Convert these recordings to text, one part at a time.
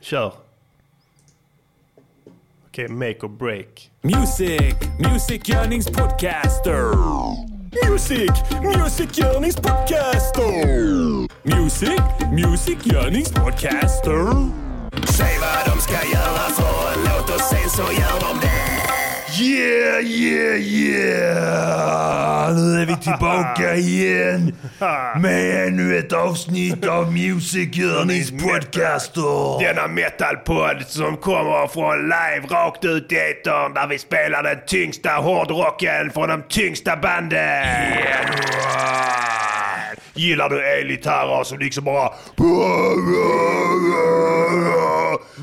Kör. Okej, eh, make or break. Music, musikgörningspodcaster. Music, musikgörningspodcaster. Music, musikgörningspodcaster. Säg vad de ska göra för en låt och sen så gör de det. Yeah, yeah, yeah! Nu är vi tillbaka igen med ännu ett avsnitt av Musikgörningspodcaster. Denna metalpodd som kommer från live rakt ut i etern där vi spelar den tyngsta hårdrocken från de tyngsta banden. Gillar du elgitarrer som liksom bara...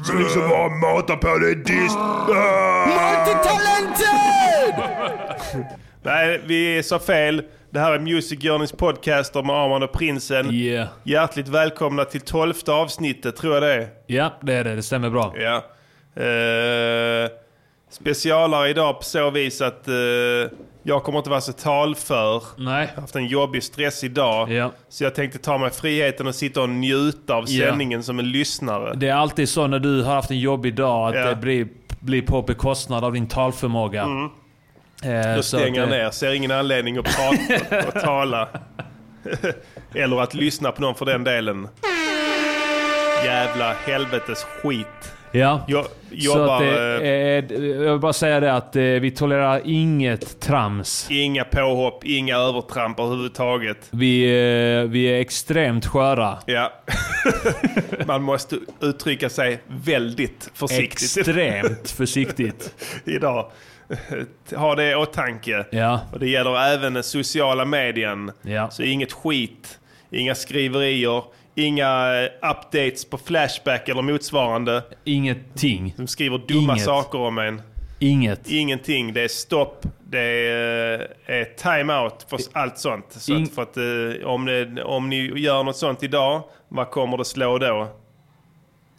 Som liksom bara matar på dig dist. Multitalented! Nej, vi sa fel. Det här är Music Journeys podcaster med Arman och Prinsen. Yeah. Hjärtligt välkomna till tolfte avsnittet, tror jag det är. Ja, det är det. Det stämmer bra. Ja. Eh, specialare idag på så vis att eh, jag kommer inte vara så talför. Nej. Jag har haft en jobbig, stressig dag. Ja. Så jag tänkte ta mig friheten och sitta och njuta av Ja. sändningen som en lyssnare. Det är alltid så när du har haft en jobbig dag att Ja. Mm. det blir, blir på bekostnad av din talförmåga. Eh, Då så stänger jag att, eh, ner, ser ingen anledning att prata och tala. Eller att lyssna på någon för den delen. Jävla helvetes skit. Ja. Jag Så jobbar... att, eh, eh, eh, jag vill bara säga det att eh, vi tolererar inget trams. Inga påhopp, inga övertramp överhuvudtaget. Vi, eh, vi är extremt sköra. Ja. Man måste uttrycka sig väldigt försiktigt Extremt försiktigt. idag. Ha det i åtanke. Ja. Och det gäller även den sociala medien. Ja. Så inget skit, inga skriverier, inga eh, updates på Flashback eller motsvarande. Ingenting. De skriver dumma Inget. saker om en. Inget. Ingenting. Det är stopp. Det är, eh, är time-out för s- allt sånt. Så In- att, för att, eh, om, det, om ni gör något sånt idag, vad kommer det slå då?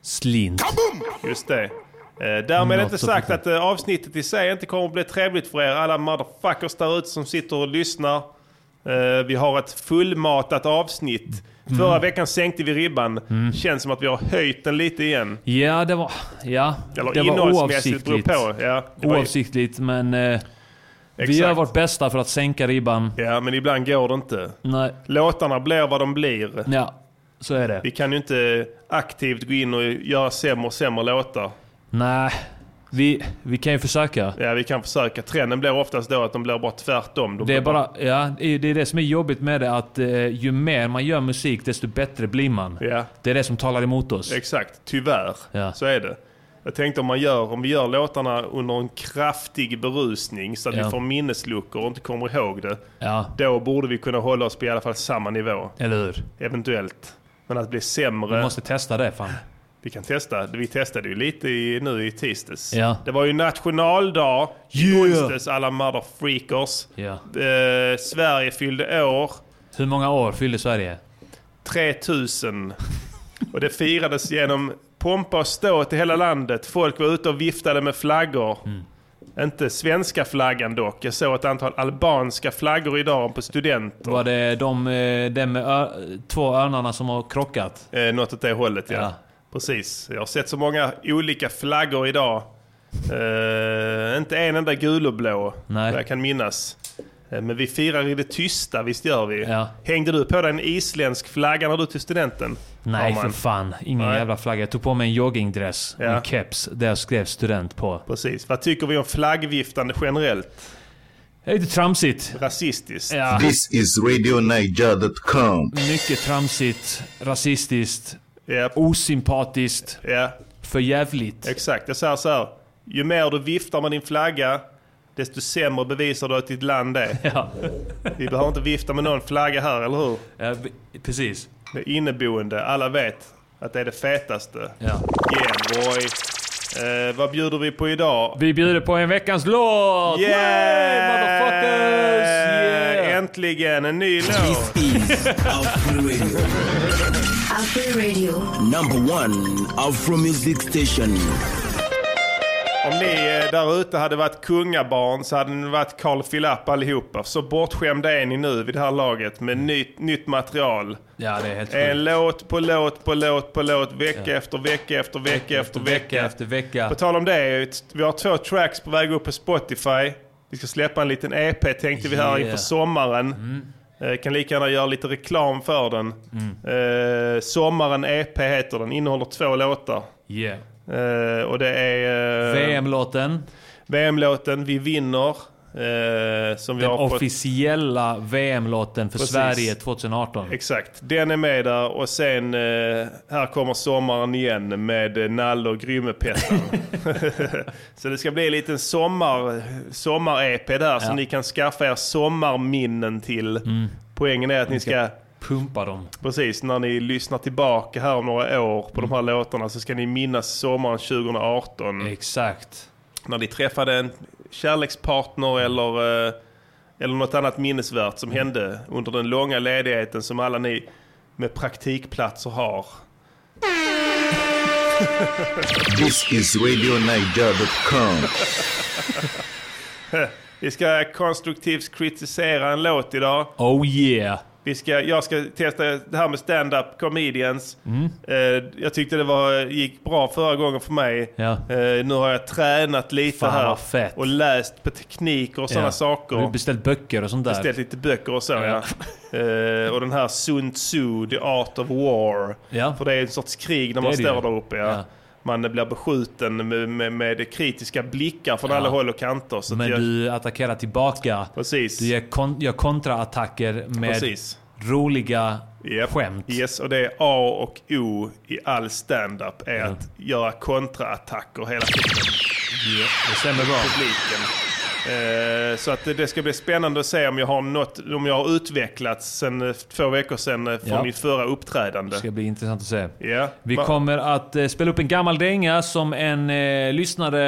Slint. Just det. Eh, Därmed Något inte att sagt förstå. att eh, avsnittet i sig inte kommer att bli trevligt för er alla motherfuckers där ute som sitter och lyssnar. Eh, Vi har ett fullmatat avsnitt. Mm. Förra veckan sänkte vi ribban. Känns som att vi har höjt den lite igen. Ja, det var... Ja. Eller det var innehållsmässigt, beror oavsiktligt. på. Ja, det var ju- Oavsiktligt, men... Eh, vi Exakt. gör vårt bästa för att sänka ribban. Ja, men ibland går det inte. Nej, Låtarna blir vad de blir. ja, så är det. Vi kan ju inte aktivt gå in och göra sämre och sämre låtar. Nej, vi, vi kan ju försöka. Ja, vi kan försöka. Trenden blir oftast då att de blir bara tvärtom. De Det är blir bara, ja, det är det som är jobbigt med det att eh, ju mer man gör musik desto bättre blir man. Ja. Det är det som talar emot oss. Exakt, tyvärr. Ja. Så är det. Jag tänkte om, man gör, om vi gör låtarna under en kraftig berusning så att vi Ja. får minnesluckor och inte kommer ihåg det. Ja, Då borde vi kunna hålla oss på i alla fall samma nivå. eller hur? Eventuellt. Men att bli sämre. Vi måste testa det fan. Vi kan testa. Vi testade ju lite i, nu i tisdags. Ja. Det var ju nationaldag i Yeah. onsdags, alla motherfreakers. Ja. Eh, Sverige fyllde år. Hur många år fyllde Sverige? 3000. Och det firades genom pompa och ståt i hela landet. Folk var ute och viftade med flaggor. Mm. Inte svenska flaggan dock. Jag såg ett antal albanska flaggor idag på studenter. Var det de, eh, den med ö- två örnarna som har krockat? Eh, något åt det hållet, ja. Ja. Precis. Jag har sett så många olika flaggor idag. Eh, inte en enda gul och blå, Nej. vad jag kan minnas. Eh, Men vi firar i det tysta, visst gör vi? Ja. Hängde du på dig en isländsk flagga när du till studenten? Nej Arman? för fan, ingen Nej. jävla flagga. Jag tog på mig en joggingdress, Ja. en keps, där jag skrev student på. Precis. Vad tycker vi om flaggviftande generellt? Det är lite tramsigt. Rasistiskt? Ja. This is RadioNiger.com. Mycket tramsigt, rasistiskt, Ja, osympatiskt, ja, för jävligt. exakt. Jag säger så här. Ju mer du viftar med din flagga, desto sämre bevisar du att ditt land är. Ja. Vi behöver inte vifta med någon flagga här, eller hur? Ja, vi- precis. Det är inneboende. Alla vet att det är det fetaste. Ja. Yeah boy. Eh, vad bjuder vi på idag? Vi bjuder på en veckans låt! Way, motherfuckers! Yeah! Äntligen en ny låt! is Afro Radio. Afro Radio. Number one Afro music station. Om ni eh, där ute hade varit kungabarn så hade ni varit Carl Philip allihopa. Så bortskämda är ni nu vid det här laget med nytt, nytt material. Ja, det är helt En sjukt. låt på låt på låt på låt, vecka efter vecka efter vecka efter vecka. Vecka efter vecka. På tal om det, vi har två tracks på väg upp på Spotify. Vi ska släppa en liten EP tänkte vi här Yeah. Mm. inför sommaren. Eh, Kan lika gärna göra lite reklam för den. Eh, sommaren EP heter den, innehåller två låtar. Yeah. Eh, och det är... eh, VM-låten. VM-låten Vi vinner. Eh, som vi Den har fått- officiella VM-låten för Precis. Sverige 2018. Exakt, den är med där och sen eh, här kommer sommaren igen med eh, Nalle och Grymmepetter. så det ska bli en liten sommar, sommar-EP där Ja. Mm. som ni kan skaffa er sommarminnen till. Poängen är att ni ska, Pumpa dem. precis när ni lyssnar tillbaka här om några år på de här låtarna så ska ni minnas sommaren 2018. Exakt. när ni träffade en kärlekspartner eller, eh, eller något annat minnesvärt som hände under den långa ledigheten som alla ni med praktikplatser har. This is RadioNiger.com. Vi ska konstruktivt kritisera en låt idag. Oh yeah. Vi ska, jag ska testa det här med stand-up comedians. Mm. Eh, jag tyckte det var, gick bra förra gången för mig. Ja. Eh, nu har jag tränat lite Fan, här vad fett. och läst på tekniker och sådana Ja. saker. Har du beställt böcker och sånt där? beställt lite böcker och så ja. Eh, och den här Sun Tzu, The Art of War. Ja. För det är en sorts krig när man är det står ju. där uppe. Ja. Ja. Man blir beskjuten med, med, med kritiska blickar från alla håll och kanter. Så Men att jag, du attackerar tillbaka. precis. Du gör, kon- gör kontraattacker med precis. roliga Japp. skämt. Yes, och det är A och O i all stand-up är att göra kontraattacker hela tiden. Det stämmer bra. publiken. Eh, Så att det- det ska bli spännande att se om jag har, något, om jag har utvecklats sen eh, två veckor sedan eh, från Ja. mitt förra uppträdande. Det ska bli intressant att se. Ja. Vi Ma- kommer att eh, spela upp en gammal dänga som en eh, lyssnare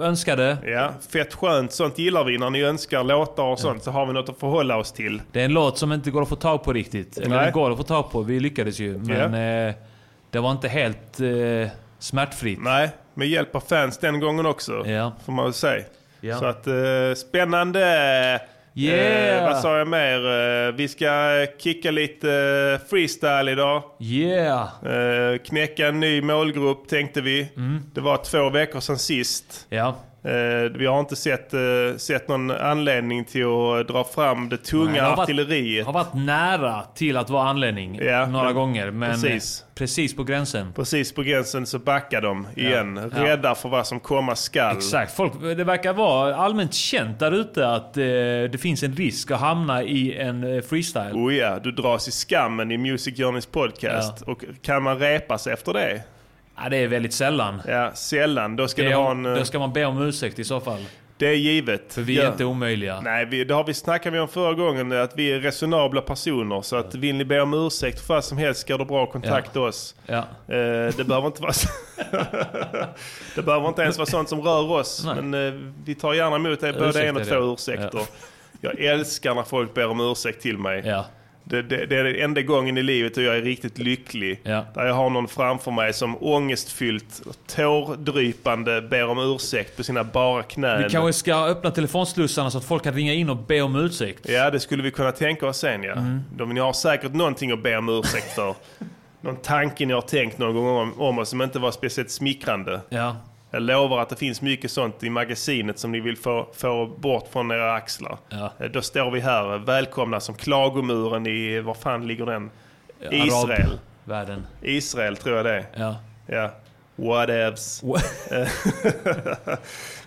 önskade. Ja, fett skönt. Sånt gillar vi. När ni önskar låtar och sånt så har vi något att förhålla oss till. Det är en låt som inte går att få tag på riktigt. Eller Nej. den går att få tag på, vi lyckades ju. Men eh, det var inte helt eh, smärtfritt. Nej, med hjälp av fans den gången också. Ja. Får man väl säga. Ja. Så att eh, spännande! Yeah. vad sa jag mer? Eh, vi ska kicka lite eh, freestyle idag. Yeah! Mm. Eh, knäcka en ny målgrupp tänkte vi. Det var två veckor sedan sist. Ja, Eh, vi har inte sett, eh, sett någon anledning till att dra fram det tunga Nej, det har varit- artilleriet. har varit nära till att vara anledning Ja, några men- gånger. Men precis. precis. precis på gränsen. Precis på gränsen så backar de igen. Ja. Rädda för vad som komma skall. Exakt. Folk, det verkar vara allmänt känt där ute att eh, det finns en risk att hamna i en eh, freestyle. Oh ja, du dras i skammen i Music Journeys podcast. Och kan man repas efter det? Ja, det är väldigt sällan. Ja, sällan. Då ska Det du ha en... då ska man be om ursäkt i så fall. Det är givet. För vi är Ja. inte omöjliga. Nej, vi, det har vi snackat om förra gången, eh, att vi är resonabla personer. Så att vill ni be om ursäkt för vad som helst ska du bra kontakta oss. Ja. Eh, det behöver inte vara så. det behöver inte ens vara sånt som rör oss. Nej. Men eh, vi tar gärna emot er, både Ursäkter, en och ja. två ursäkter. Ja. Jag älskar när folk ber om ursäkt till mig. Ja. Det, det, det är den enda gången i livet då jag är riktigt lycklig. Ja. Där jag har någon framför mig som ångestfyllt, tårdrypande ber om ursäkt på sina bara knän. Vi kanske ska öppna telefonslussarna så att folk kan ringa in och be om ursäkt. Mm. Ja, det skulle vi kunna tänka oss sen ja. De, ni har säkert någonting att be om ursäkt för. Någon tanke ni har tänkt någon gång om, om oss som inte var speciellt smickrande. Ja. Jag lovar att det finns mycket sånt i magasinet som ni vill få, få bort från era axlar. Ja. Eh, Då står vi här, eh, välkomna som klagomuren i, var fan ligger den? Israel. Arabvärlden. Israel tror jag det är. Ja. Ja. Whatevs.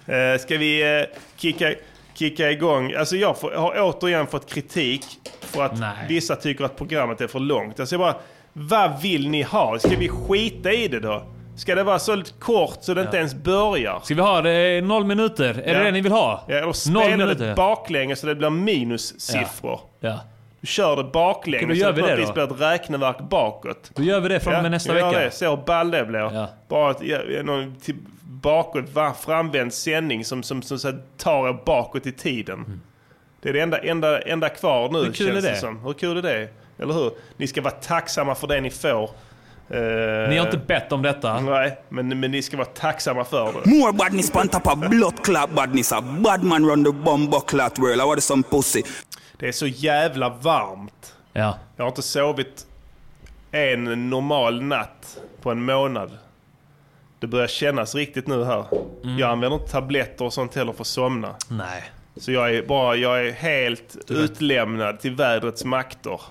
Eh, Ska vi eh, kicka, kicka igång? Alltså jag får, har återigen fått kritik för att Nej. vissa tycker att programmet är för långt. Alltså jag bara, vad vill ni ha? Ska vi skita i det då? Ska det vara så kort så det inte ens börjar? Ska vi ha det? Noll minuter? Är Ja. det det ni vill ha? Ja, eller Noll spela det minuter? baklänges så det blir minussiffror. ja. Du kör det baklänges Okej, då så gör det vi på något det vis då. blir ett räkneverk bakåt. Då gör vi det från och med nästa vi gör vecka. Det. Se hur ball det blir. Ja. Bara att, ja, ja, någon till, bakåt, va, framvänd sändning som, som, som, så här tar er bakåt i tiden. Det är det enda, enda, enda kvar nu Mm. Hur kul känns är det det? som. Hur kul är det? Eller hur? Ni ska vara tacksamma för det ni får. Eh, Ni har inte bett om detta. Nej, men, men ni ska vara tacksamma för det. More badness on top of blood clot badness. A bad man run the bomb clot world. I want some pussy. Det är så jävla varmt. Ja. Jag har inte sovit en normal natt på en månad. Det börjar kännas riktigt nu här. Jag använder inte tabletter och sånt heller för att somna. Mm. Nej. Så jag är, bara, jag är helt utlämnad till vädrets makter.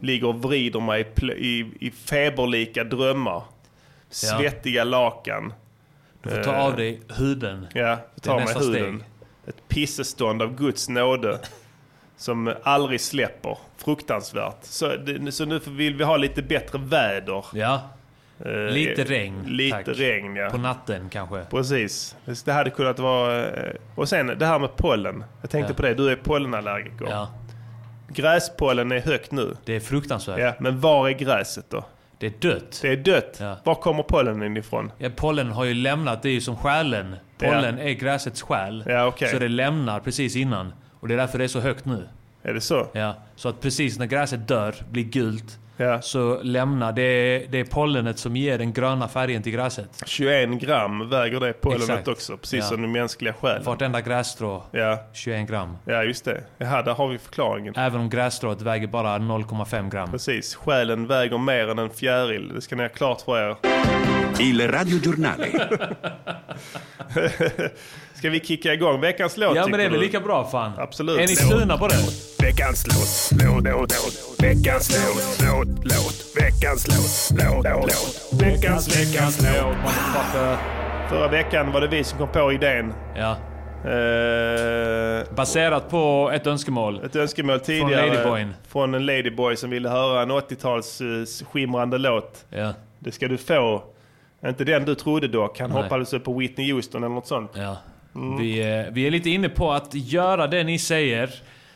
Ligger och vrider mig i, pl- i, i feberlika drömmar. Svettiga lakan. Du får ta av dig huden. Eh. Ja, tar mig nästa huden. steg. Ett pissestånd av Guds nåde. Som aldrig släpper. Fruktansvärt. Så, det, så nu vill vi ha lite bättre väder. Ja. Eh, Lite regn, Lite tack. regn, ja. På natten kanske. Precis. Det hade kunnat vara... eh, Och sen det här med pollen. Jag tänkte Ja. på det. Du är pollenallergiker. Ja. Gräspollen är högt nu. Det är fruktansvärt. Ja, men var är gräset då? Det är dött. Det är dött. Ja. Var kommer pollenen ifrån? Ja, pollen har ju lämnat, det är ju som själen. Pollen är gräsets själ. Ja, okej. Så det lämnar precis innan. Och det är därför det är så högt nu. Är det så? Ja, så att precis när gräset dör, blir gult, Ja. så lämnar det, det är pollenet som ger den gröna färgen till gräset. 21 gram väger det pollenet Exakt. också. Precis Ja. som den mänskliga själen. Vartenda grässtrå, Ja. 21 gram. ja, just det. Ja, där har vi förklaringen. Även om grässtrået väger bara 0,5 gram. Precis. Själen väger mer än en fjäril. Det ska ni ha klart för er. Il radiogiornale. Ska vi kicka igång veckans låt? Ja men tycker det är väl du? lika bra fan. Absolut. Är ni sugna på det? Veckans låt. Låt, låt, låt. Veckans låt. Låt, låt. Veckans låt. Låt, låt. Veckans, veckans låt. Förra veckan var det vi som kom på idén. Ja. Eh, Baserat på ett önskemål. ett önskemål tidigare Ladyboyn. från en Ladyboy som ville höra en 80-tals eh, skimrande låt. Ja. Det ska du få. Inte den du trodde dock. Han Nej. hoppades upp på Whitney Houston eller något sånt. Ja. Vi, eh, vi är lite inne på att göra det ni säger,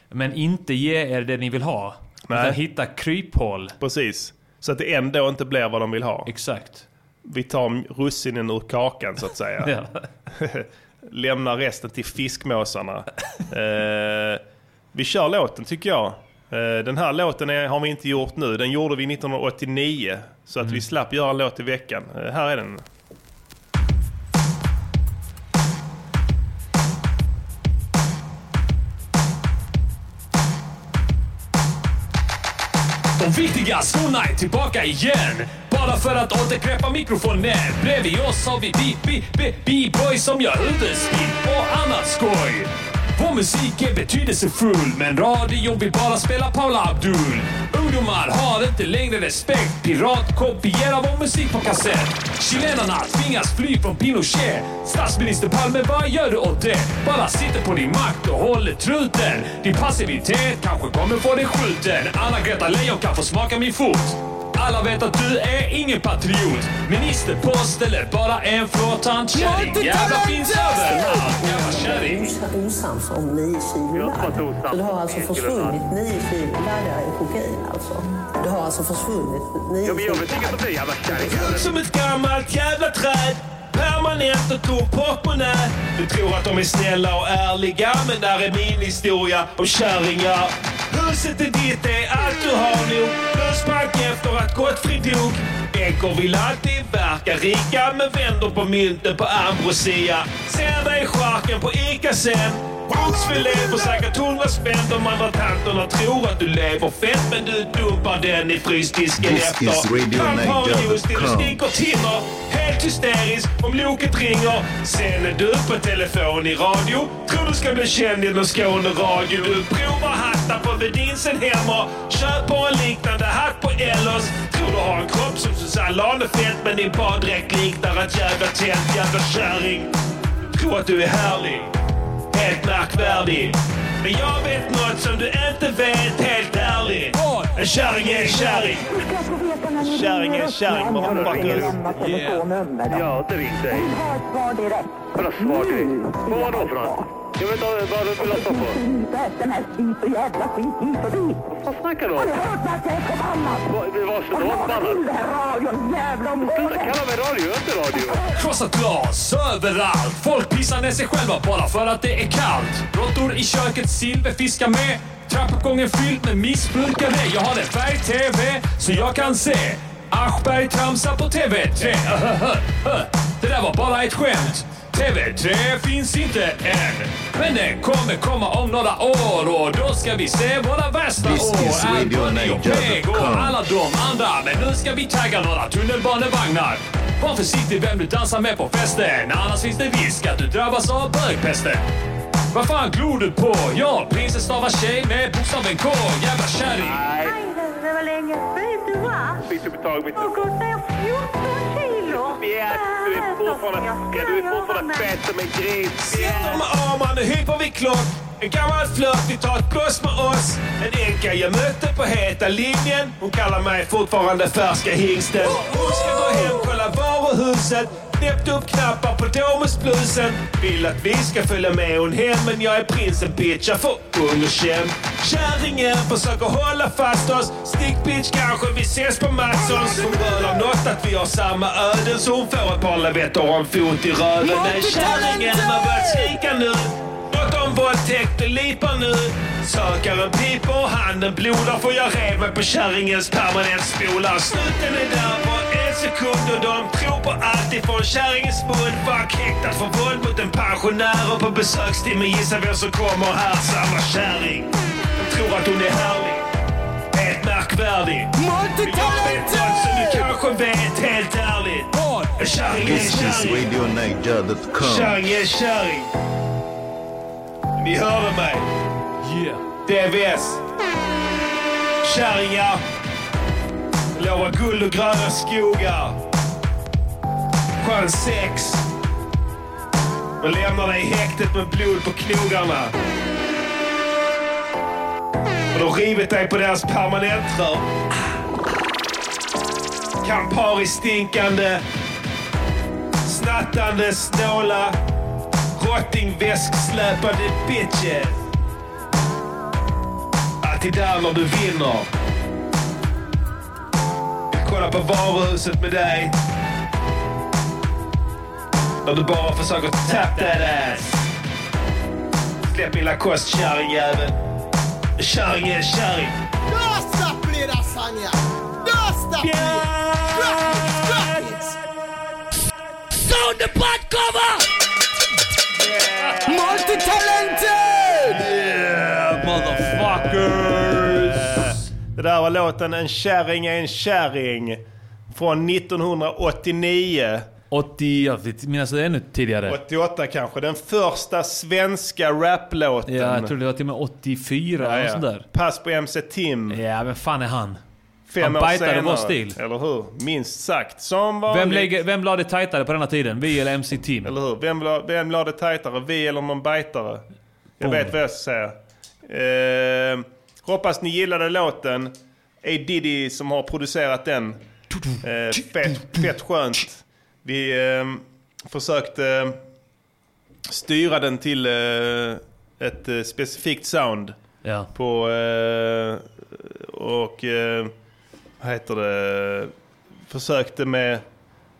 men inte ge er det ni vill ha. Nej. Utan hitta kryphål. Precis. Så att det ändå inte blir vad de vill ha. Exakt. Vi tar russinen ur kakan så att säga. Ja. Lämnar resten till fiskmåsarna. eh, vi kör låten tycker jag. Eh, den här låten är, har vi inte gjort nu. Den gjorde vi 1989. Så att Mm. vi slapp göra en låt i veckan. Eh, här är den. De viktiga skorna är tillbaka igen Bara för att återkräpa mikrofonen Bredvid oss har vi beat, beat, B-boy som gör utespill och annat skoj Vår musik är betydelsefull Men radion vill bara spela Paula Abdul Ungdomar har inte längre respekt Pirat kopierar vår musik på kassett Chilenarna tvingas fly från Pinochet Statsminister Palme, vad gör du åt det? Bara sitter på din makt och håller truten Din passivitet kanske kommer få dig skjuten Anna-Greta Leijon kan få smaka min fot alla vet att du är ingen patriot Ministerpost eller bara en flåtant kärring Jävla finns överallt, jävla kärring osams om nio kilo ladd. Så det har alltså försvunnit nio kilo laddar i kokain alltså. Det har alltså försvunnit nio kilo. Som ett gammalt jävla träd Permanent och tom portmonnä Du tror att de är snälla och ärliga Men där är min historia om kärringar Huset är ditt, det är allt du har nog Börsbank efter att Gottfrid dog Änkor vill alltid verka rika Men vänder på mynten på ambrosia Ser dig i charken på Ica sen Oxfilé för säkert hundra spänn De andra tanterna tror att du lever fett Men du dumpar den i frysdisken This efter is Radio Han har Night Dog just det, du Crown. skriker timmer Helt hysterisk om loket ringer Sen är du på telefon i radio Tror du ska bli känd genom Skåne radio Du provar hattar på Vedinsen hemma Köper en liknande hatt på Ellos Tror du har en kropp som Susanne Lanefelt Men din baddräkt liknar ett jävla tält Jävla kärring Tror att du är härlig helt märkvärdig. Men jag vet något som du inte vet, helt ärligt. En kärring är en kärring. Kärring är en kärring, motherfuckers. Ja, det ringt dig. Jag har ett svar direkt. Vadå svar direkt? Vad var då för något? Jag vet inte vad du vill ha svar på. Inte sms hit och jävla skit hit och dit. Vad snackar du Har om? du hört mig säga förbannat? Vad- Det var så Och något låt till annat. det här oh, radion jävla omgående. Kalla mig radio, jag är inte radio. Krossat glas överallt. Folk pissar ner sig själva bara för att det är kallt. Råttor i köket, silverfiskar med. Trappuppgången fylld med missbrukare. Jag har en färg-tv så jag kan se. Aschberg tramsar på TV3. Det där var bara ett skämt. TV3 finns inte än, men den kommer komma om några år och då ska vi se våra värsta This år. is Radio Anthony och Peg och Niger.com. alla de andra. Men nu ska vi tagga några tunnelbanevagnar. Var försiktig vem du dansar med på festen, annars finns det risk att du drabbas av bögpesten. Vad fan glor du på? Ja, prinsess stavar tjej med bokstaven K. Jävla kärring. Nej, Hej, det var länge sedan du var. byt upptag, byt Och upp. gått ner 14 kilo. Bjärt, du är fortfarande, ja, du är fortfarande fet som en gris. Sitter med armarna hyper vi klock. En gammal flört, vi tar ett bloss med oss. En änka jag mötte på heta linjen. Hon kallar mig fortfarande färska hingsten. Hon ska gå hem, kolla varuhuset. Knäppt upp knappar på Domusblusen. Vill att vi ska följa med hon hem. Men jag är prinsen bitch, jag får underkänd. Kärringen försöker hålla fast oss. Stick bitch, kanske vi ses på Matssons. Hon rölar något att vi har samma öden. Så hon får ett par lavetter och en fot i röven. Nej, kärringen har börjat skrika nu. Något om våldtäkt och lipar nu. Sökaren piper och handen blodar för jag rev mig på kärringens permanentspolar. Snuten är där på en sekund och de tror på allt ifrån kärringens mun. Fuck häktad för våld mot en pensionär och på besökstimme gissa vem som kommer här. Samma kärring. De tror att hon är härlig. Helt märkvärdig. Men jag vet något som du kanske vet helt ärligt. En kärring är en This is kärring. RadioNiger.com. Kärring är kärring. Ni hörde mig. DVS. Kärringar. Lovar guld och gröna skogar. Skön sex. Och lämnar dig i häktet med blod på knogarna. Och de har rivit dig på deras permanentrör. Campari-stinkande. Snattande, snåla, rottingväsksläpande bitches. Alltid där när du vinner. Kolla på varuhuset med dig. När du bara försöker tap that ass. Släpp min Lacoste kärringjävel. Kärring är kärring. Motherfuckers! Eh, Det där var låten En kärring är en kärring. Från 1989. 80, jag vet- minns det ännu tidigare. 88 kanske. Den första svenska raplåten. Ja, jag tror det var till och med 84 eller Ja, något ja. sånt där. Pass på MC Tim. Ja, vem fan är han? Fem han år bajtade senare. vår stil. Eller hur? Minst sagt. Som vanligt. Vem, lägger, vem la det tajtare på denna tiden? Vi eller MC Team? Eller hur? Vem, la- vem la det tajtare? Vi eller någon bajtare? Jag Boom. vet vad jag ska säga. Eh, hoppas ni gillade låten. A Diddy som har producerat den. Eh, fett, fett skönt. Vi ehm, försökte ehm, styra den till eh, ett eh, specifikt sound. Ja. på eh, och eh, vad heter det försökte med,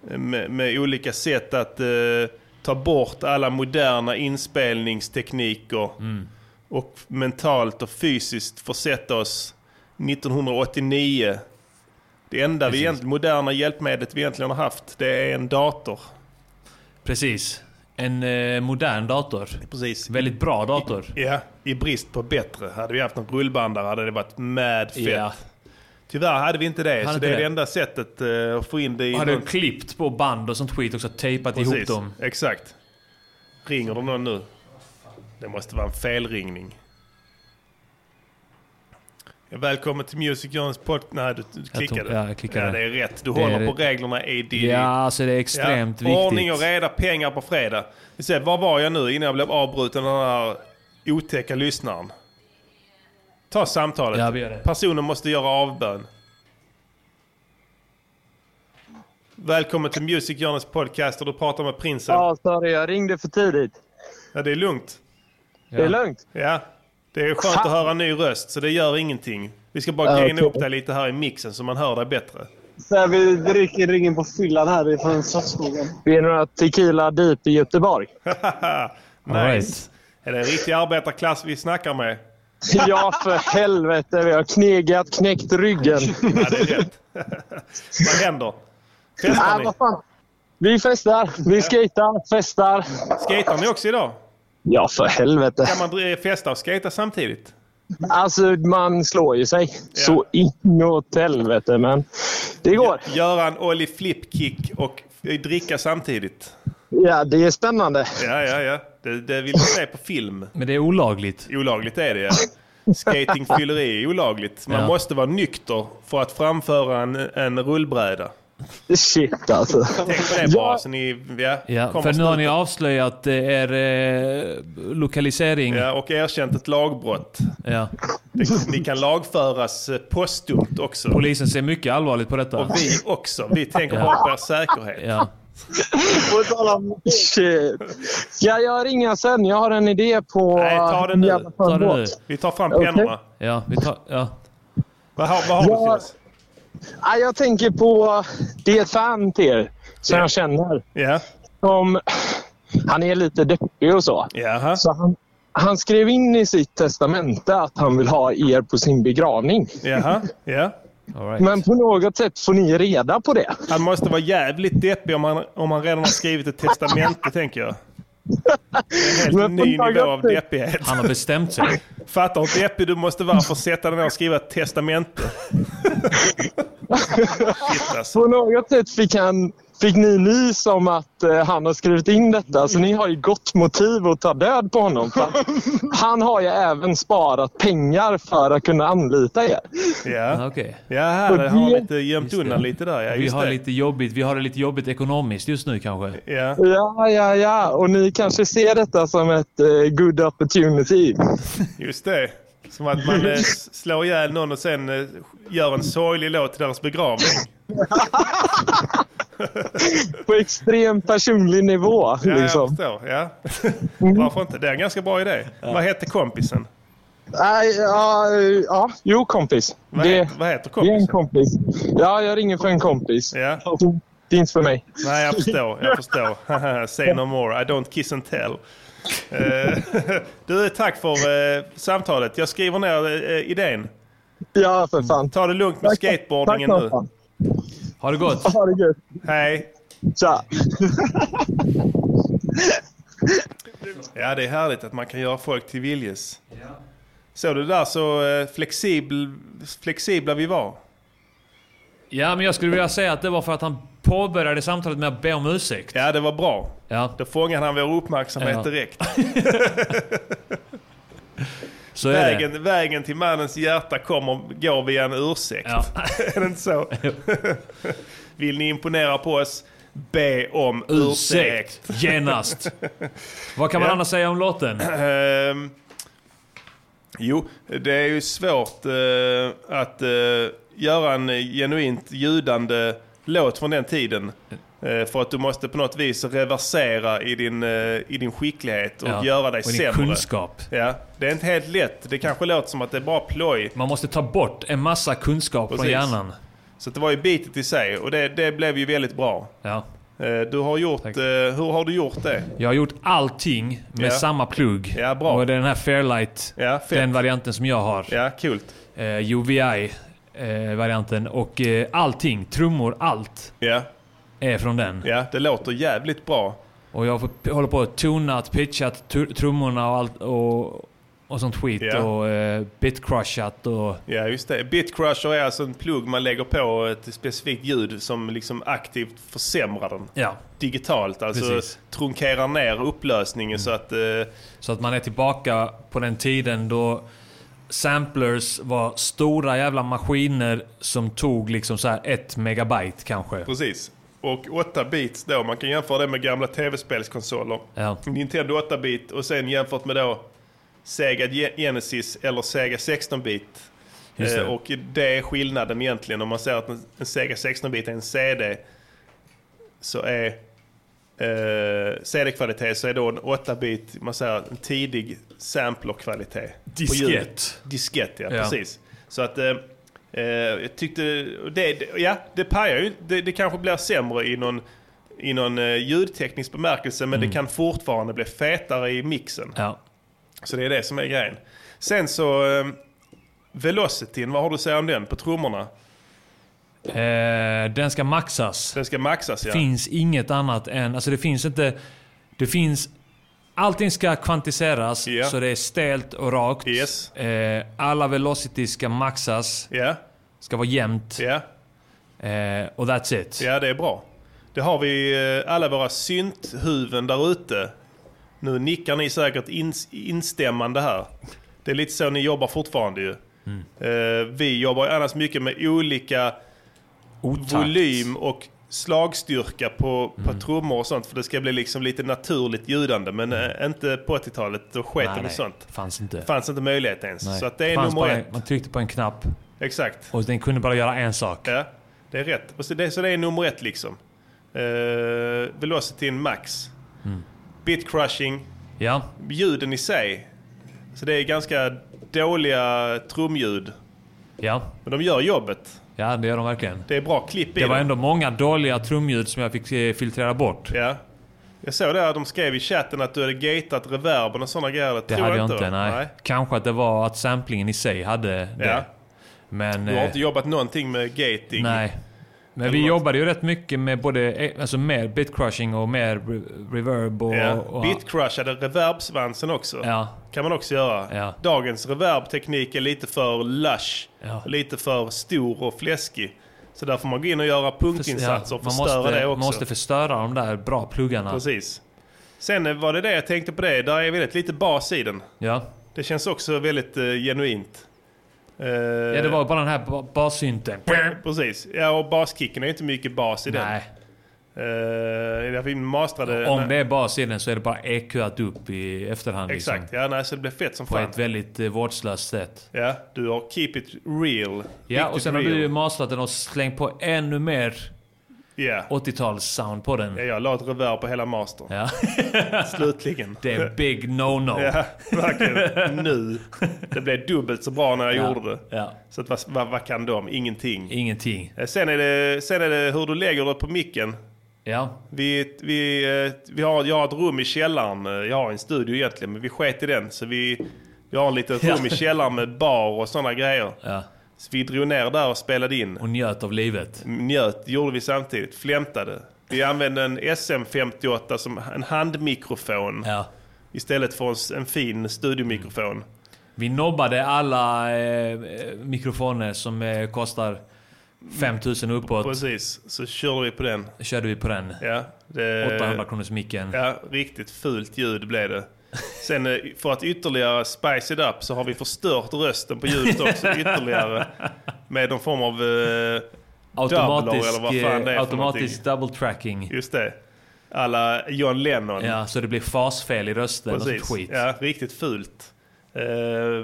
med, med olika sätt att eh, ta bort alla moderna inspelningstekniker Mm. och mentalt och fysiskt försätta oss 1989. Det enda vi egentligen, moderna hjälpmedlet vi egentligen har haft det är en dator. Precis. En eh, modern dator. Precis. Väldigt bra dator. Ja, i brist på bättre. Hade vi haft en rullbandare hade det varit mad fett. Ja. Tyvärr hade vi inte det, så inte det är det. det enda sättet eh, att få in det i Har du någon- klippt på band och sånt skit också? Tejpat ihop Precis, dem? Exakt. Ringer det någon nu? Det måste vara en felringning. Ja, Välkommen till Music Journeys podcast. Nej, du, du klickade. tror- ja, jag klickade. Ja, det är rätt. Du Det håller är- på reglerna AD. Ja, alltså det är extremt viktigt. Ordning och reda, pengar på fredag. Vi ser, var var jag nu innan jag blev avbruten av den här otäcka lyssnaren? Ta samtalet. Ja, vi gör det. Personen måste göra avbön. Välkommen till Music Journeys podcast och du pratar med prinsen. Ja. sorry, jag ringde för tidigt. det är lugnt. Det är lugnt. Ja. Det är skönt att höra en ny röst så det gör ingenting. Vi ska bara Ja, gaina okej. upp dig lite här i mixen så man hör dig bättre. Så här, vi dricker ringen på fyllan här ifrån Slottsskogen. Vi är några tequila deep i Göteborg. nice. All right. Är det en riktig arbetarklass vi snackar med? Ja, för helvete. Vi har knegat, knäckt ryggen. Ja, det är rätt. Vad händer? Festar Nej, ni? vad fan. Vi festar, vi skejtar, festar. Skejtar ni också idag? Ja, för helvete. Kan man eh, festa och skejta samtidigt? Alltså, man slår ju sig. Så inåt helvete, men det går. Göra en ollie flip-kick och f- dricka samtidigt. Ja, det är spännande. Ja, ja, ja. Det, det vill jag se på film. Men det är olagligt. Olagligt är det, ja. Skatingfylleri är olagligt. Man Ja. måste vara nykter för att framföra en, en rullbräda. Shit, alltså. Tänk på det bara, så ni ja, Ja, kommer för nu har snart. ni avslöjat eh, er eh, lokalisering. Ja, och erkänt ett lagbrott. Ja. Det- Ni kan lagföras eh, postumt också. Polisen ser mycket allvarligt på detta. Och vi också. Vi tänker Ja. bara på er säkerhet. Ja. På tal om- Shit. Ska jag ringa sen? Jag har en idé på... Nej, ta den nu. Jävla skön Ta den båt. nu. Vi tar fram Okej. pennorna. Ja, vi tar... Ja. Vad har, vad har du Ja. till oss? Ja, jag tänker på... Det är ett fan till er som jag känner. Ja. Som, han är lite deppig och så. Jaha. Så han, han skrev in i sitt testamente att han vill ha er på sin begravning. Jaha. Ja. All right. Men på något sätt får ni reda på det. Han måste vara jävligt deppig om han, om han redan har skrivit ett testamente, tänker jag. En helt Men på ny nivå något av sätt- deppighet. Han har bestämt sig. Fattar hur deppig du måste vara för att sätta dig ner och skriva ett testamente. Shit alltså. På något sätt fick, han, fick ni nys om att eh, han har skrivit in detta. Så ni har ju gott motiv att ta död på honom. För han, han har ju även sparat pengar för att kunna anlita er. Ja, Okej. ja här har han det- lite gömt Just undan det. lite där. Ja, Vi just har, det. lite jobbigt, vi har det lite jobbigt ekonomiskt just nu kanske. Ja. Ja, ja, ja. Och ni kanske ser detta som ett eh, good opportunity. Just det. Som att man eh, s- slår ihjäl någon och sen eh, gör en sorglig låt till deras begravning. På extrem personlig nivå. Ja, jag liksom. förstår. Ja. Varför inte? Det är en ganska bra idé. Vad heter kompisen? Nej, ja, eh, ja, jo kompis. Vad, Det, heter, vad heter det är en kompisen? kompis. Ja, jag ringer för en kompis. Ja. Finns för mig. Nej, jag förstår. Jag förstår. Say no more. I don't kiss and tell. Eh, du, tack för eh, samtalet. Jag skriver ner eh, idén. Ja, för fan. Ta det lugnt med skateboardingen Tack nu. som fan. Har det gått? Ha det gött. Hej. Tja. Ja, det är härligt att man kan göra folk till viljes. Såg du där så eh, flexibel, flexibla vi var? Ja, men jag skulle vilja säga att det var för att han påbörjade samtalet med att be om ursäkt. Ja, det var bra. Ja. Då fångade han vår uppmärksamhet Ja. direkt. Så är det. Vägen, vägen till mannens hjärta kommer, går via en ursäkt. Ja. är det inte så? Vill ni imponera på oss? Be om ursäkt. Ursäkt. Genast. Vad kan man Ja. annars säga om låten? Ehm, jo, det är ju svårt eh, att eh, göra en genuint ljudande låt från den tiden. Eh, för att du måste på något vis reversera i din, eh, i din skicklighet och Ja. göra dig och din sämre. kunskap. Ja, det är inte helt lätt. Det kanske låter som att det är bara ploj. Man måste ta bort en massa kunskap från Precis. hjärnan. Så att det var ju bitet i sig och det, det blev ju väldigt bra. Ja. Eh, Du har gjort, Tack. eh, hur har du gjort det? Jag har gjort allting med Ja. samma plugg. Ja, bra. Och det är den här Fairlight, Ja, fett. den varianten som jag har. Ja, kul. Eh, UVI-varianten. och eh, allting, trummor, allt Ja, är från den. ja, det låter jävligt bra. Och jag får- håller på att tonat, pitchat tr- trummorna och allt och, och sånt skit. Ja. Och eh, bitcrushat och... Ja, just det. Bitcrusher är alltså en plugg man lägger på ett specifikt ljud som liksom aktivt försämrar den. Ja. Digitalt, alltså Precis. Mm. trunkerar ner upplösningen så att... eh, Så att man är tillbaka på den tiden då samplers var stora jävla maskiner som tog liksom så här ett megabyte kanske. Precis. Och 8 bits då, man kan jämföra det med gamla tv-spelskonsoler. Ja. Nintendo 8-bit och sen jämfört med då Sega Ge- Genesis eller Sega 16-bit. Just det. Eh, och det är skillnaden egentligen. Om man säger att en, en Sega 16-bit är en CD så är eh, CD-kvalitet så är då en 8-bit, man säger en tidig sampler-kvalitet. på ljud. Diskett. Diskett, ja, Ja. precis. Så att eh, eh, jag tyckte, och det, det- ja det pajar ju, det, det kanske blir sämre i någon, i någon eh, ljudteknisk bemärkelse men det kan fortfarande bli fetare i mixen. Ja. Så det är det som är grejen. Sen så, eh, velocityn, vad har du att säga om den på trummorna? Eh, den ska maxas. Den ska maxas ja. finns inget annat än... Alltså det finns inte... Det finns... Allting ska kvantiseras Ja. så det är stelt och rakt. Eh, alla velocity ska maxas. Ska vara jämnt. Eh, och that's it. Ja, det är bra. Det har vi eh, alla våra synthuvuden där ute. Nu nickar ni säkert ins- instämmande här. Det är lite så ni jobbar fortfarande ju. Mm. Eh, Vi jobbar ju annars mycket med olika volym och slagstyrka på, Mm. på trummor och sånt. För det ska bli liksom lite naturligt ljudande. Men Mm. eh, inte på 80-talet, då sket de i sånt. fanns inte. Det fanns inte möjlighet ens. Nej. Så att det är Fanns nummer bara- ett. Man tryckte på en knapp Exakt. och den kunde bara göra en sak. Ja, det är rätt. Och så, det, så det är nummer ett liksom. Uh, velocityn max. Mm. Bit crushing. Ja. Ljuden i sig. Så det är ganska dåliga trumljud. Ja. Men de gör jobbet. Ja, det gör de verkligen. Det är bra klipp i Det var dem. ändå många dåliga trumljud som jag fick eh, filtrera bort. Ja. Jag såg där att de skrev i chatten att du hade gateat reverben och sådana grejer. Det, Det tror hade jag inte. inte, nej. Kanske att det var att samplingen i sig hade det. Ja. Men... Du har eh, inte jobbat någonting med gating. Nej. Men Eller vi något. jobbade ju rätt mycket med både eh, alltså mer bitcrushing och mer re- reverb och... Ja. och Bitcrushade reverbsvansen också. Ja. Kan man också göra. Dagens reverbteknik är lite för lush. Lite för stor och fläskig. Så där får man gå in och göra punktinsatser och man förstöra måste, det också. Man måste förstöra de där bra pluggarna. Precis. Sen eh, var det det jag tänkte på det. Där är väldigt lite bas i den. Ja. Det känns också väldigt eh, genuint. Eh, Ja, det var bara den här ba- bassynten. Precis. Ja, och baskicken är inte mycket bas i den. Nej. Eh, det är därför vi mastrade... Om det är bas i den så är det bara EQat upp i efterhand. Exakt. Liksom, Ja, nej, så det blev fett som på fan. ett väldigt eh, vårdslöst sätt. Ja, du har keep it real. Ja, och Riktigt sen har real. du ju mastrat den och slängt på ännu mer 80-tals-sound på den. Ja, jag la ett revär på hela mastern. Slutligen. Det är big no-no. Ja, verkligen. Nu. Det blev dubbelt så bra när jag Ja, gjorde det. Så att, vad, vad, vad kan de? Ingenting. Ingenting. Eh, Sen är det, sen är det hur du lägger det på micken. Ja. Vi, vi, eh, vi har, jag har ett rum i källaren. Eh, Jag har en studio egentligen, men vi sket i den. Så vi, vi har ett litet Ja. rum i källaren med bar och sådana grejer. Så vi drog ner där och spelade in. Och njöt av livet. Njöt gjorde vi samtidigt. Flämtade. Vi använde en SM58 som en handmikrofon. Istället för en, s- en fin studiomikrofon. Vi nobbade alla eh, eh, mikrofoner som eh, kostar 5000 uppåt. Precis, så körde vi på den. Körde vi på den. Ja, det- 800 kronors micken. Ja, riktigt fult ljud blev det. Sen eh, för att ytterligare spice it up så har vi förstört rösten på ljudet också ytterligare. Med någon form av... Eh, Automatisk, doubler, eller vad fan det är eh, för automatisk double tracking. Just det. Alla John Lennon. Ja, så det blir fasfel i rösten och sånt Precis. skit. Ja, riktigt fult. Eh,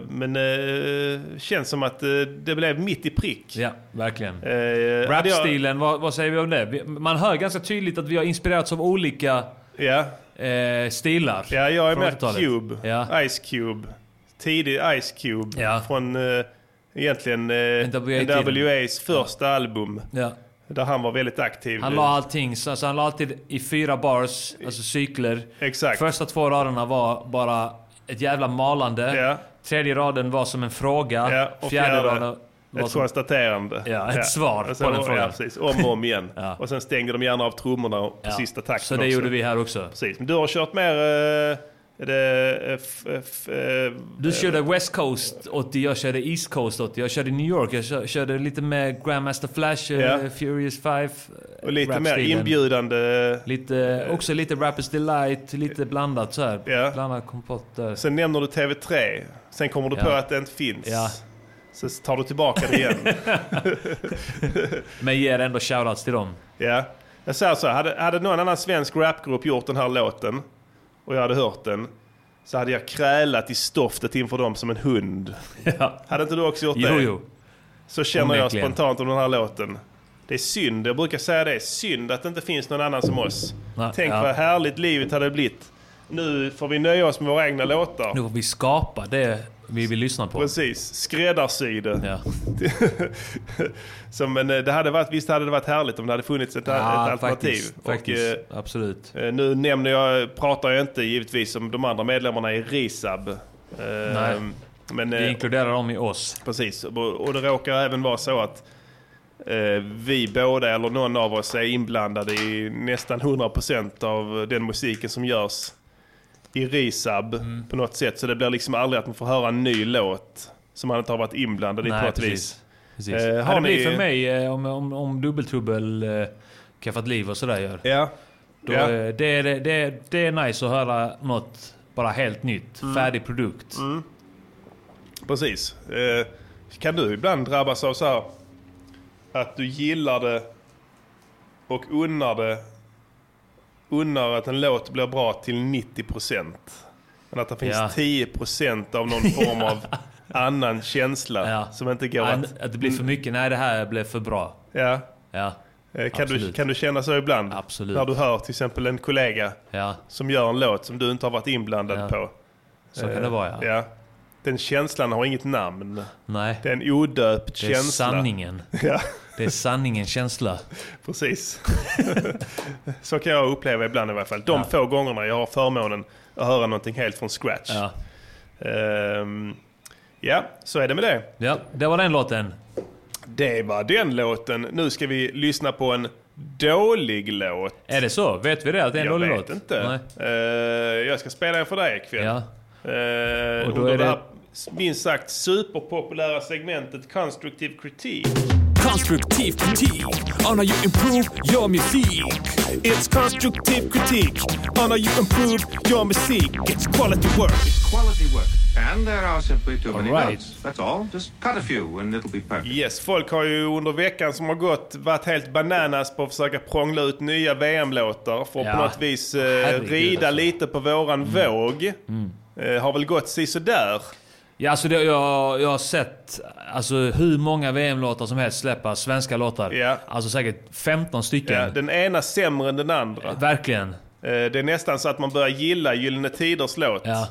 men eh, känns som att eh, det blev mitt i prick. Ja, verkligen. Eh, hade jag- Rapstilen, vad, vad säger vi om det? Vi- Man hör ganska tydligt att vi har inspirerats av olika eh, stilar. Ja, jag är från med 80-talet. Cube. Ja. Ice Cube. Tidig Ice Cube. Från eh, egentligen eh, NWA-tiden. NWA's första album. Ja. Där han var väldigt aktiv. Han la allting, så alltså han la alltid i fyra bars, alltså cykler. Exakt. Första två raderna var bara ett jävla malande. Tredje raden var som en fråga. Ja, och fjärde, fjärde, raden var Ett som... konstaterande. Ja, ett svar Och på den frågan. Ja, precis. Om och om igen. Och sen stängde de gärna av trummorna på Ja. sista takten Så det också. gjorde vi här också. Precis. Men du har kört mer... eh, är det, eh, f, f, eh, Du körde West Coast 80, jag körde East Coast 80, jag körde New York, jag kö- körde lite med Grandmaster Flash, eh, Ja. Furious 5. eh, Och lite mer Eh. inbjudande... Lite, också lite Rappers Delight, lite blandat så här. Blandad kompott där. Eh. Sen nämner du TV3. Sen kommer du Ja. på att det inte finns. Ja. Så tar du tillbaka det igen. Men ger ändå shoutouts till dem. Ja. Jag säger så, här, hade, hade någon annan svensk rapgrupp gjort den här låten och jag hade hört den så hade jag krälat i stoftet inför dem som en hund. Hade inte du också gjort Jo, det? jo. Så känner jag Onekligen. spontant om den här låten. Det är synd, jag brukar säga det, synd att det inte finns någon annan som oss. Nej, Tänk ja. vad härligt livet hade blivit. Nu får vi nöja oss med våra egna låtar. Nu får vi skapa det vi vill lyssna på. Precis, skräddarsy det. Ja. Så, men eh, det hade varit, visst hade det varit härligt om det hade funnits ett, Ja, ett alternativ. eh, faktiskt, faktiskt. Absolut. Nu nämner jag, pratar jag inte givetvis om de andra medlemmarna i RISAB. Eh, Nej. Men, eh, Vi inkluderar dem i oss. Precis, och och det råkar även vara så att eh, vi båda eller någon av oss är inblandade i nästan 100% av den musiken som görs i Risab Mm. på något sätt. Så det blir liksom aldrig att man får höra en ny låt som man inte har varit inblandad i på något vis. Precis. Eh, Ja, har det ni- blir för mig eh, om, om, om dubbeltrubbel, eh, kaffat liv och sådär gör. Ja. Då, Ja. eh, Det, är, det, är, det är nice att höra något bara helt nytt. Mm. Färdig produkt. Precis. Eh, kan du ibland drabbas av så här att du gillar det och unnar det unnar att en låt blir bra till 90% men att det finns Ja. 10% av någon form av annan känsla som inte går Ja, att... att det blir för mycket. Nej, det här blev för bra. Ja. Ja. Eh, Kan du, Absolut. kan du känna så ibland? Absolut. När du hör till exempel en kollega som gör en låt som du inte har varit inblandad på. Så kan Eh, det vara, ja. Den känslan har inget namn. Nej. Det är en odöpt Det är känsla. sanningen. Ja. Det är sanningens känsla. Precis. så kan jag uppleva ibland i alla fall. De Ja. få gångerna jag har förmånen att höra någonting helt från scratch. Ja. Ehm, ja, så är det med det. Ja, det var den låten. Det var den låten. Nu ska vi lyssna på en dålig låt. Är det så? Vet vi det? Att det är en jag dålig vet låt? inte. Nej. Ehm, jag ska spela den för dig ikväll. Ja. Ehm, Och då under är det det- här minst sagt superpopulära segmentet Constructive Critique. Constructive critique on how you improve your music. It's constructive critique on how you improve your music. It's quality work. Quality work. And there are simply too many Alright. notes. That's all. Just cut a few and it'll be perfect. Yes, folk har ju under veckan som har gått varit helt bananas på att försöka prångla ut nya VM-låtar för att Ja. på något vis eh, Herregud, rida alltså. Mm. lite på våran våg. Eh, har väl gått sisådär. Ja, alltså det, jag, jag har sett alltså, hur många VM-låtar som helst släppa svenska låtar. Alltså säkert 15 stycken. Ja, den ena sämre än den andra. Verkligen. Eh, Det är nästan så att man börjar gilla Gyllene Tiders låt eh,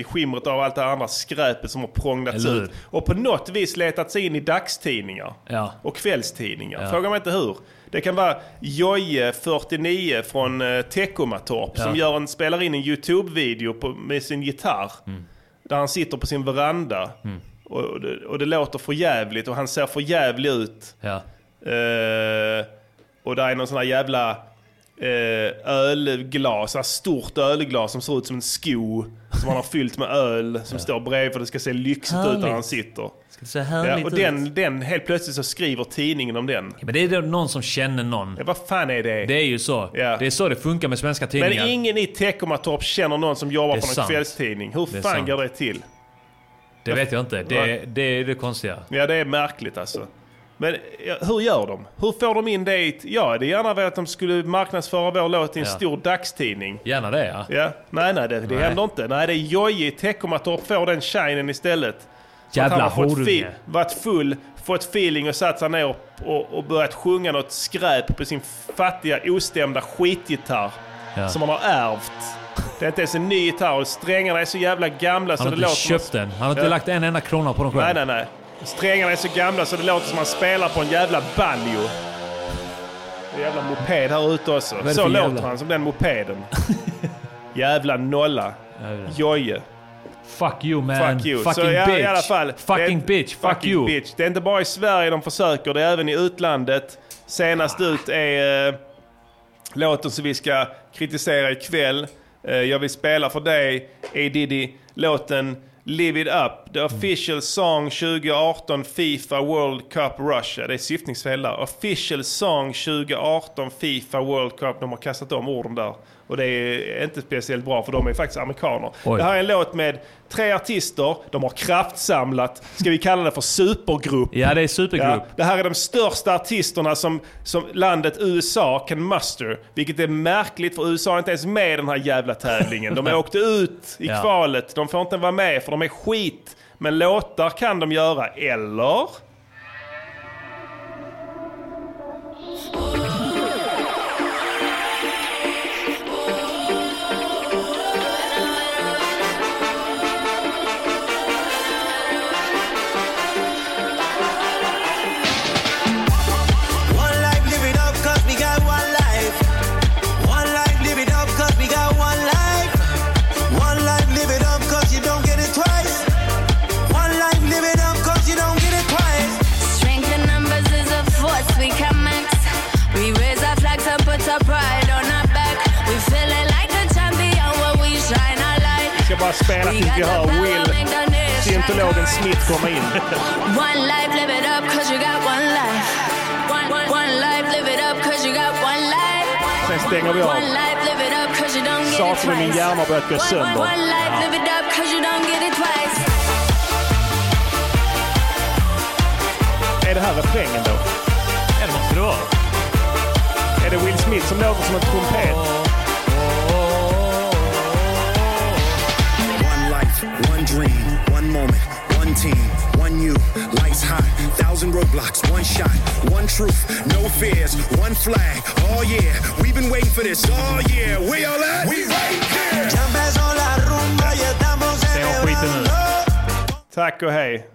i skimret av allt det andra skräpet som har prånglats Eller hur? ut. Och på något vis letat sig in i dagstidningar Ja. och kvällstidningar. Ja. Fråga mig inte hur. Det kan vara Joje, 49 från eh, Teckomatorp som Ja. gör en, spelar in en YouTube-video på, med sin gitarr. Mm. Där han sitter på sin veranda. Och, och, det, och det låter för jävligt och han ser för jävlig ut. Ja. Eh, och där är någon sån här jävla eh, ölglas, så här stort ölglas som ser ut som en sko. Som han har fyllt med öl som står bredvid för det ska se lyxigt ut där Härligt. han sitter. Ska det se härligt och ut? den, den, helt plötsligt så skriver tidningen om den. Men det är då någon som känner någon. Ja, vad fan är det? Det är ju så. Det är så det funkar med svenska tidningar. Men ingen i Teckomatorp känner någon som jobbar Det är på någon sant. kvällstidning. Hur Det är fan sant. går det till? Det vet jag inte. Det, Nej. det är det konstiga. Ja, det är märkligt alltså. Men ja, hur gör de? Hur får de in det i... ett- Jag hade gärna velat att de skulle marknadsföra vår låt i en Ja. stor dagstidning. Gärna det ja. Ja, nej nej det, det Nej. händer inte. Nej det är Jojje i Teckomatorp får den shinen istället. För att Jävla han har fått horunge. fi- Varit full, fått feeling och satt sig ner och, och, och börjat sjunga något skräp på sin fattiga ostämda skitgitarr. Ja. Som han har ärvt. Det är inte ens en ny gitarr och strängarna är så jävla gamla så Han har det inte låter... som- köpt den. Han har inte Ja. lagt en enda krona på den själv. Nej, nej, nej. Strängarna är så gamla så det låter som man spelar på en jävla banjo. Det är en jävla moped här ute också. är det Så för låter jävla? han, som den mopeden. jävla nolla. Joje. Fuck you man. Fuck you. Fucking så i- bitch. I alla fall, Fucking det, bitch. Fuck fucking you. Bitch. Det är inte bara i Sverige de försöker, det är även i utlandet. Senast Ah. ut är eh, låten som vi ska kritisera ikväll. Eh, jag vill spela för dig, A Diddy, låten Live It Up. Mm. The official song 2018 Fifa World Cup Russia. Det är syftningsfel där. Official song 2018 Fifa World Cup. De har kastat om orden där. Och det är inte speciellt bra för de är faktiskt amerikaner. Oj. Det här är en låt med tre artister. De har kraftsamlat. Ska vi kalla det för supergrupp? Ja, det är supergrupp. Ja, det här är de största artisterna som, som landet USA kan muster. Vilket är märkligt för USA är inte ens med i den här jävla tävlingen. De åkte ut i Ja. kvalet. De får inte vara med för de är skit. Men låtar kan de göra, eller? One life, live it up, cause we got one life. One life, live it up, cause we got one life. One life, live it up, cause you don't get it twice. bara spela tills vi hör Will, scientologen Smith, komma in. One life, live it up, cause you got one life. One, one, one life, live it up, cause you got one life. Sen stänger vi av. One life, live it up, cause you don't get it Saken i min twice. hjärna har börjat gå One, one, sönder. one life, live it up, cause you don't get it twice. Är det här refrängen då? Ja, det måste det vara. Är det Will Smith som låter som en trumpet? One life, one dream, one moment, one team, one you. Lights hot, thousand roadblocks, one shot, one truth, no fears, one flag. Oh yeah, we've been waiting for this all year. We all at? We right here. Stäng av skiten nu. Tack och hej.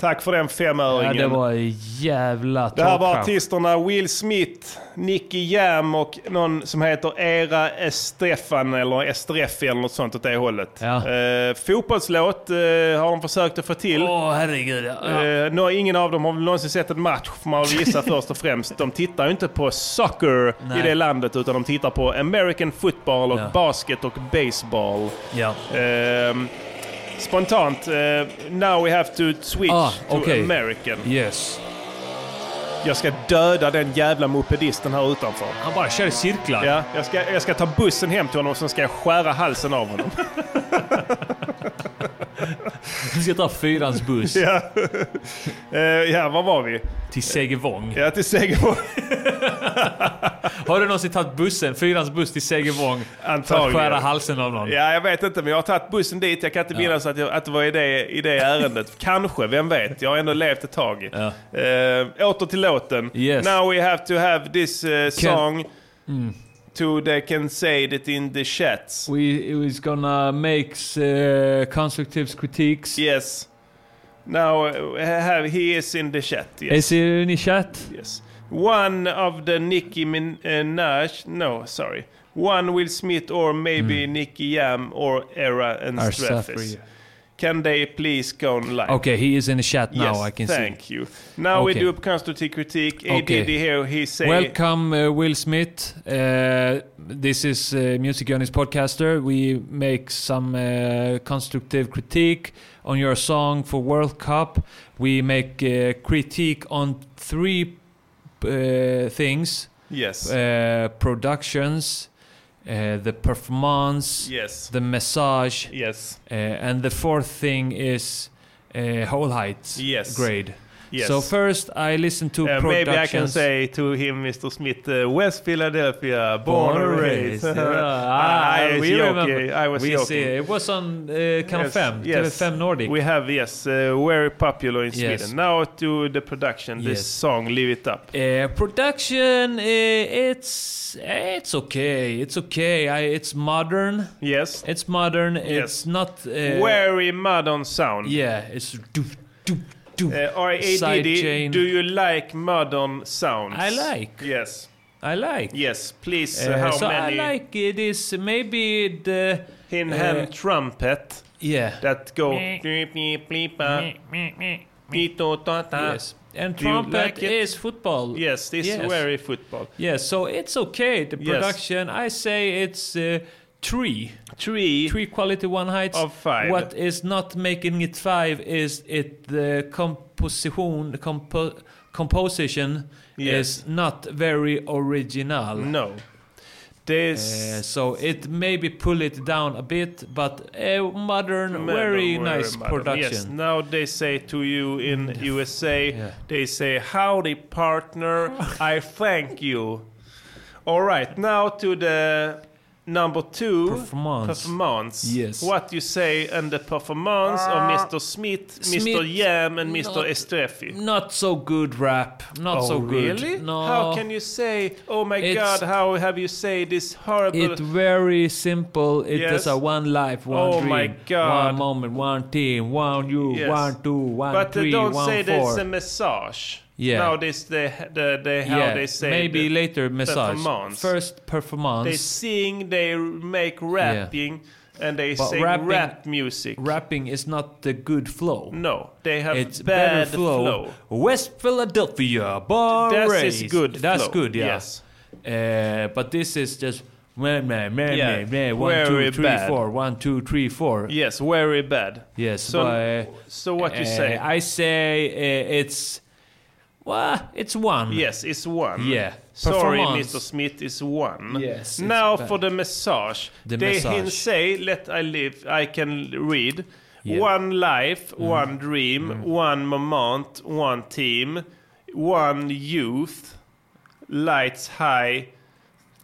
Tack för den Ja, femöringen. det var en jävla Det här var tårtshow. artisterna Will Smith, Nicky Jam och någon som heter Era Estefan eller Estreffi eller något sånt åt det hållet. Eh, fotbollslåt eh, har de försökt att få till. Åh, herregud. Ja. Ja. Eh, nå, ingen av dem har väl någonsin sett en match, får man väl gissa först och främst. De tittar ju inte på soccer Nej. i det landet, utan de tittar på American football och Ja. basket och baseball. Ja. Ehm, spontant, eh, now we have to switch Ah, to okej. American. Yes. Jag ska döda den jävla mopedisten här utanför. Han bara kör i cirklar. Ja, jag ska, jag ska ta bussen hem till honom och sen ska jag skära halsen av honom. Du ska ta fyrans buss. ja. Eh, ja, var var vi? Till Segevång. Ja, till Segevång. Har du någonsin tagit bussen, fyrans buss till Segevång för att Antagligen. skära halsen av någon? Ja, jag vet inte, men jag har tagit bussen dit. Jag kan inte minnas att, jag, att det var i det, i det ärendet. Kanske, vem vet? Jag har ändå levt ett tag. Ja. åter till låten. Yes. Now we have to have this eh, song Mm. to they can say it in the chats. We is gonna make uh, constructive critiques. Yes. Now eh, have, he is in the chat. Yes. Is it in the chat? Yes. One of the Nicki uh, Minaj, no, sorry. One Will Smith or maybe Nicky Jam or Era and Hmm. Are Straffis. suffering. Can they please go online? Okay, he is in the chat now. yes, I can thank see. you. Now we Okay. do constructive critique. ADD Okay. here, he say... Welcome, uh, Will Smith. Uh, this is uh, Music Journeys podcaster. We make some uh, constructive critique on your song for World Cup. We make uh, critique on three uh, things. Yes. Uh, productions, uh, the performance. Yes. The massage. Yes. Uh, and the fourth thing is uh, whole height. Yes. Grade. Yes. So first, I listen to Uh, productions. maybe I can say to him, Mr. Smith, uh, West Philadelphia, born, and raised. Ah, I, was we joking. remember. I was We joking. see. It was on uh, Kanal 5, TV5 Nordic. We have, yes, uh, very popular in Yes. Sweden. Now to the production, this Yes. song, Live It Up. Uh, production, uh, it's it's okay, it's okay. I, it's modern. Yes. It's modern. It's not. Uh, Very modern sound. Yeah, it's. doof, doof, doof. Uh, R.A.D.D., Sidechain. do you like modern sounds? I like. Yes. I like. Yes, please, Uh, how so many? I like uh, this. Maybe the uh, In hand trumpet. Yeah. That go... Meh. Yes. Yes. And Do you trumpet like it? is football. Yes, this is Yes. very football. Yeah, so it's okay. The Yes. production, I say it's uh, three. Three. Three quality one heights. Of five. What is not making it five is it the composition, the compo- composition Yes. is not very original. No. This. Uh, so it maybe pull it down a bit, but a modern, very nice madam. Yes, production. Mm, now they say to you in USA, they say, Howdy, partner, I thank you. All right, now to the number two Performance. performance. Yes. What you say and the performance of Mr. Smith, Mr. Smith, Yam, and Mr. not- Estrefi. Not so good rap. Not oh, so good. really? No. How can you say, oh my It's- god, how have you say this horrible... It's very simple. It Yes. is a one life, one Oh dream, my God. one moment, one team, one you, Yes. one two, one but they three, don't one say four. there's a massage. Yeah. Now this the the, the how yeah, they say maybe the later massage. performance. First performance. They sing, they make rapping, and they But sing rapping- rap music. rapping is not the good flow. No, they have it's bad better flow. West Philadelphia, bar This is raised. good That's flow, good, yeah. yes. Uh, but this is just Meh, meh, meh, Yeah. meh, meh. One, Very two, three, bad. four. One, two, three, four. Yes, very bad. Yes. So- but, so what you uh, say? I say uh, it's. Well, it's one. Yes, it's one. Yeah. Sorry, Performance. Mr. Smith is one. Yes, it's Now bad. for the massage. The they massage. can say, let I live, I can read. Yeah. Mm. One life, one dream, one moment, one team, one youth, lights high,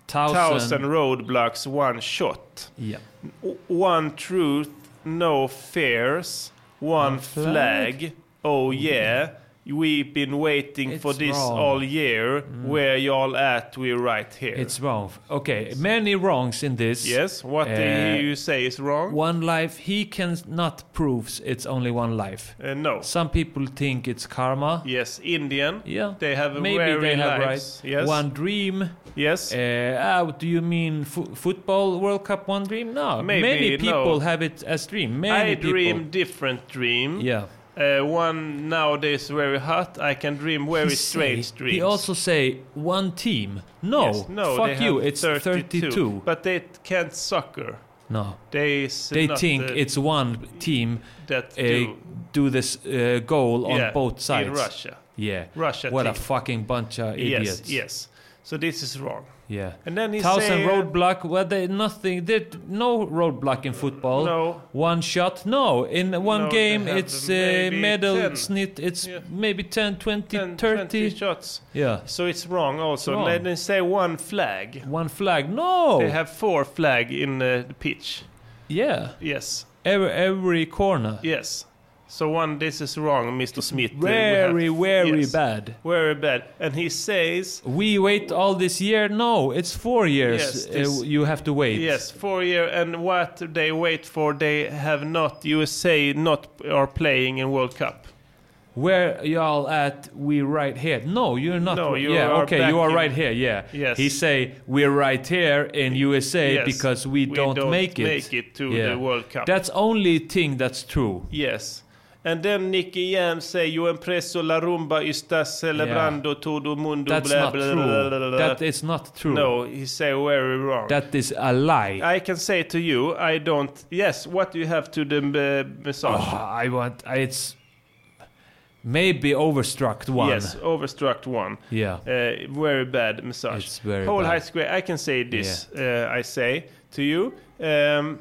Thousand- thousand roadblocks, one shot. Yeah. O- One truth, no fears. One flag. flag. Oh yeah, we've been waiting for this Mm. wrong. Mm. all year. Where y'all at? We're right here. It's wrong. Okay, many wrongs in this. Eh, Yes, what do you say is wrong? One life. He cannot proves it's only one life. Uh, no. Some people think it's karma. yes, Indian. Yeah. they have Maybe very they have lives. right. Yes, One dream. Yes. Uh, ah, do you mean fu- football World Cup? One dream? No. Maybe, Many people no. have it as dream. Many I people. dream different dream. Yeah. Uh, one nowadays very hot. I can dream very He strange say- dreams. He also say one team. No. Yes, no, Fuck they you. have It's 32. But they can't soccer. No. They s- They not, think uh, it's one team that uh, do- do this uh, goal on Yeah, both in sides. Russia. Yeah. Russia What a team. fucking bunch of idiots. Yes, yes. So this is wrong. Yeah. And then he Thousand say, uh, roadblock. Well, they nothing. There no roadblock in football. No. One shot. No. In one No, they game, have it's uh, maybe medal 10. snit. It's maybe 10, 20, 10, 30. 20 shots. Yeah. So it's wrong also. It's wrong. Let them say one flag. One flag. No. They have four flag in uh, the pitch. Yeah. Yes. Every every corner. Yes. So one, this is wrong, Mr. Smith. Uh, we have- Very very yes. bad. Very bad. And he says, We wait all this year. No, it's four years. Yes, this- uh, you have to wait. yes, four year. And what they wait for, they have not, USA not are playing in World Cup. Where y'all at? We right here. No, you're not. No, you yeah, are okay, back you are in- right here. Yeah. Yes. He say we're right here in USA Yes, because we, we don't, don't make it. make it to the World Cup. That's only thing that's true. Yes. And then Nicky Jam say you impresso la rumba estas celebrando todo mundo. That's blah, not blah, true. blah, blah, blah, That blah. is not true. No, he say very wrong. That is a lie. I can say to you, I don't. Yes, what do you have to the uh, massage? Ah, I want. I, it's maybe overstruck one. Yes, overstruck one. Yeah. Uh, very bad massage. It's very Whole bad. high square. I can say this. Uh, I say to you, um,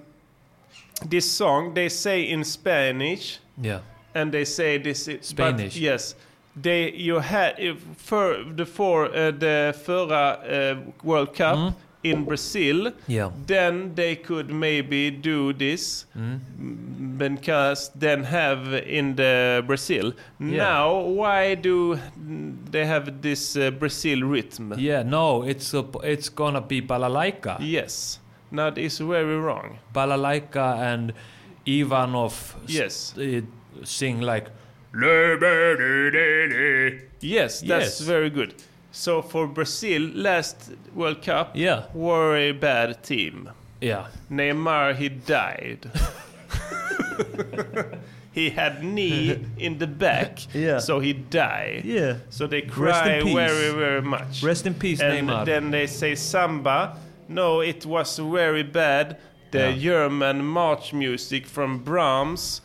this song they say in Spanish. Yeah. and they say this is Spanish. But yes, they you had if for the for uh, the förra uh, World Cup in Brazil. Mm-hmm. Yeah. Then they could maybe do this Mm-hmm. m- because then have in the Brazil. Yeah. Now why do they have this uh, Brazil rhythm? Yeah. No, it's a, it's gonna be balalaika. Yes. Now it's very wrong. Balalaika and Ivanov s- Yes. uh, sing like Yes, that's Yes. very good. So for Brazil, last World Cup, Yeah. were a bad team. yeah Neymar, he died. he had knee in the back, Yeah. so he died. Yeah. So they Rest cry in peace. very, very much. Rest in peace, and Neymar. then they say samba. No, it was very bad. The Yeah. German march music from Brahms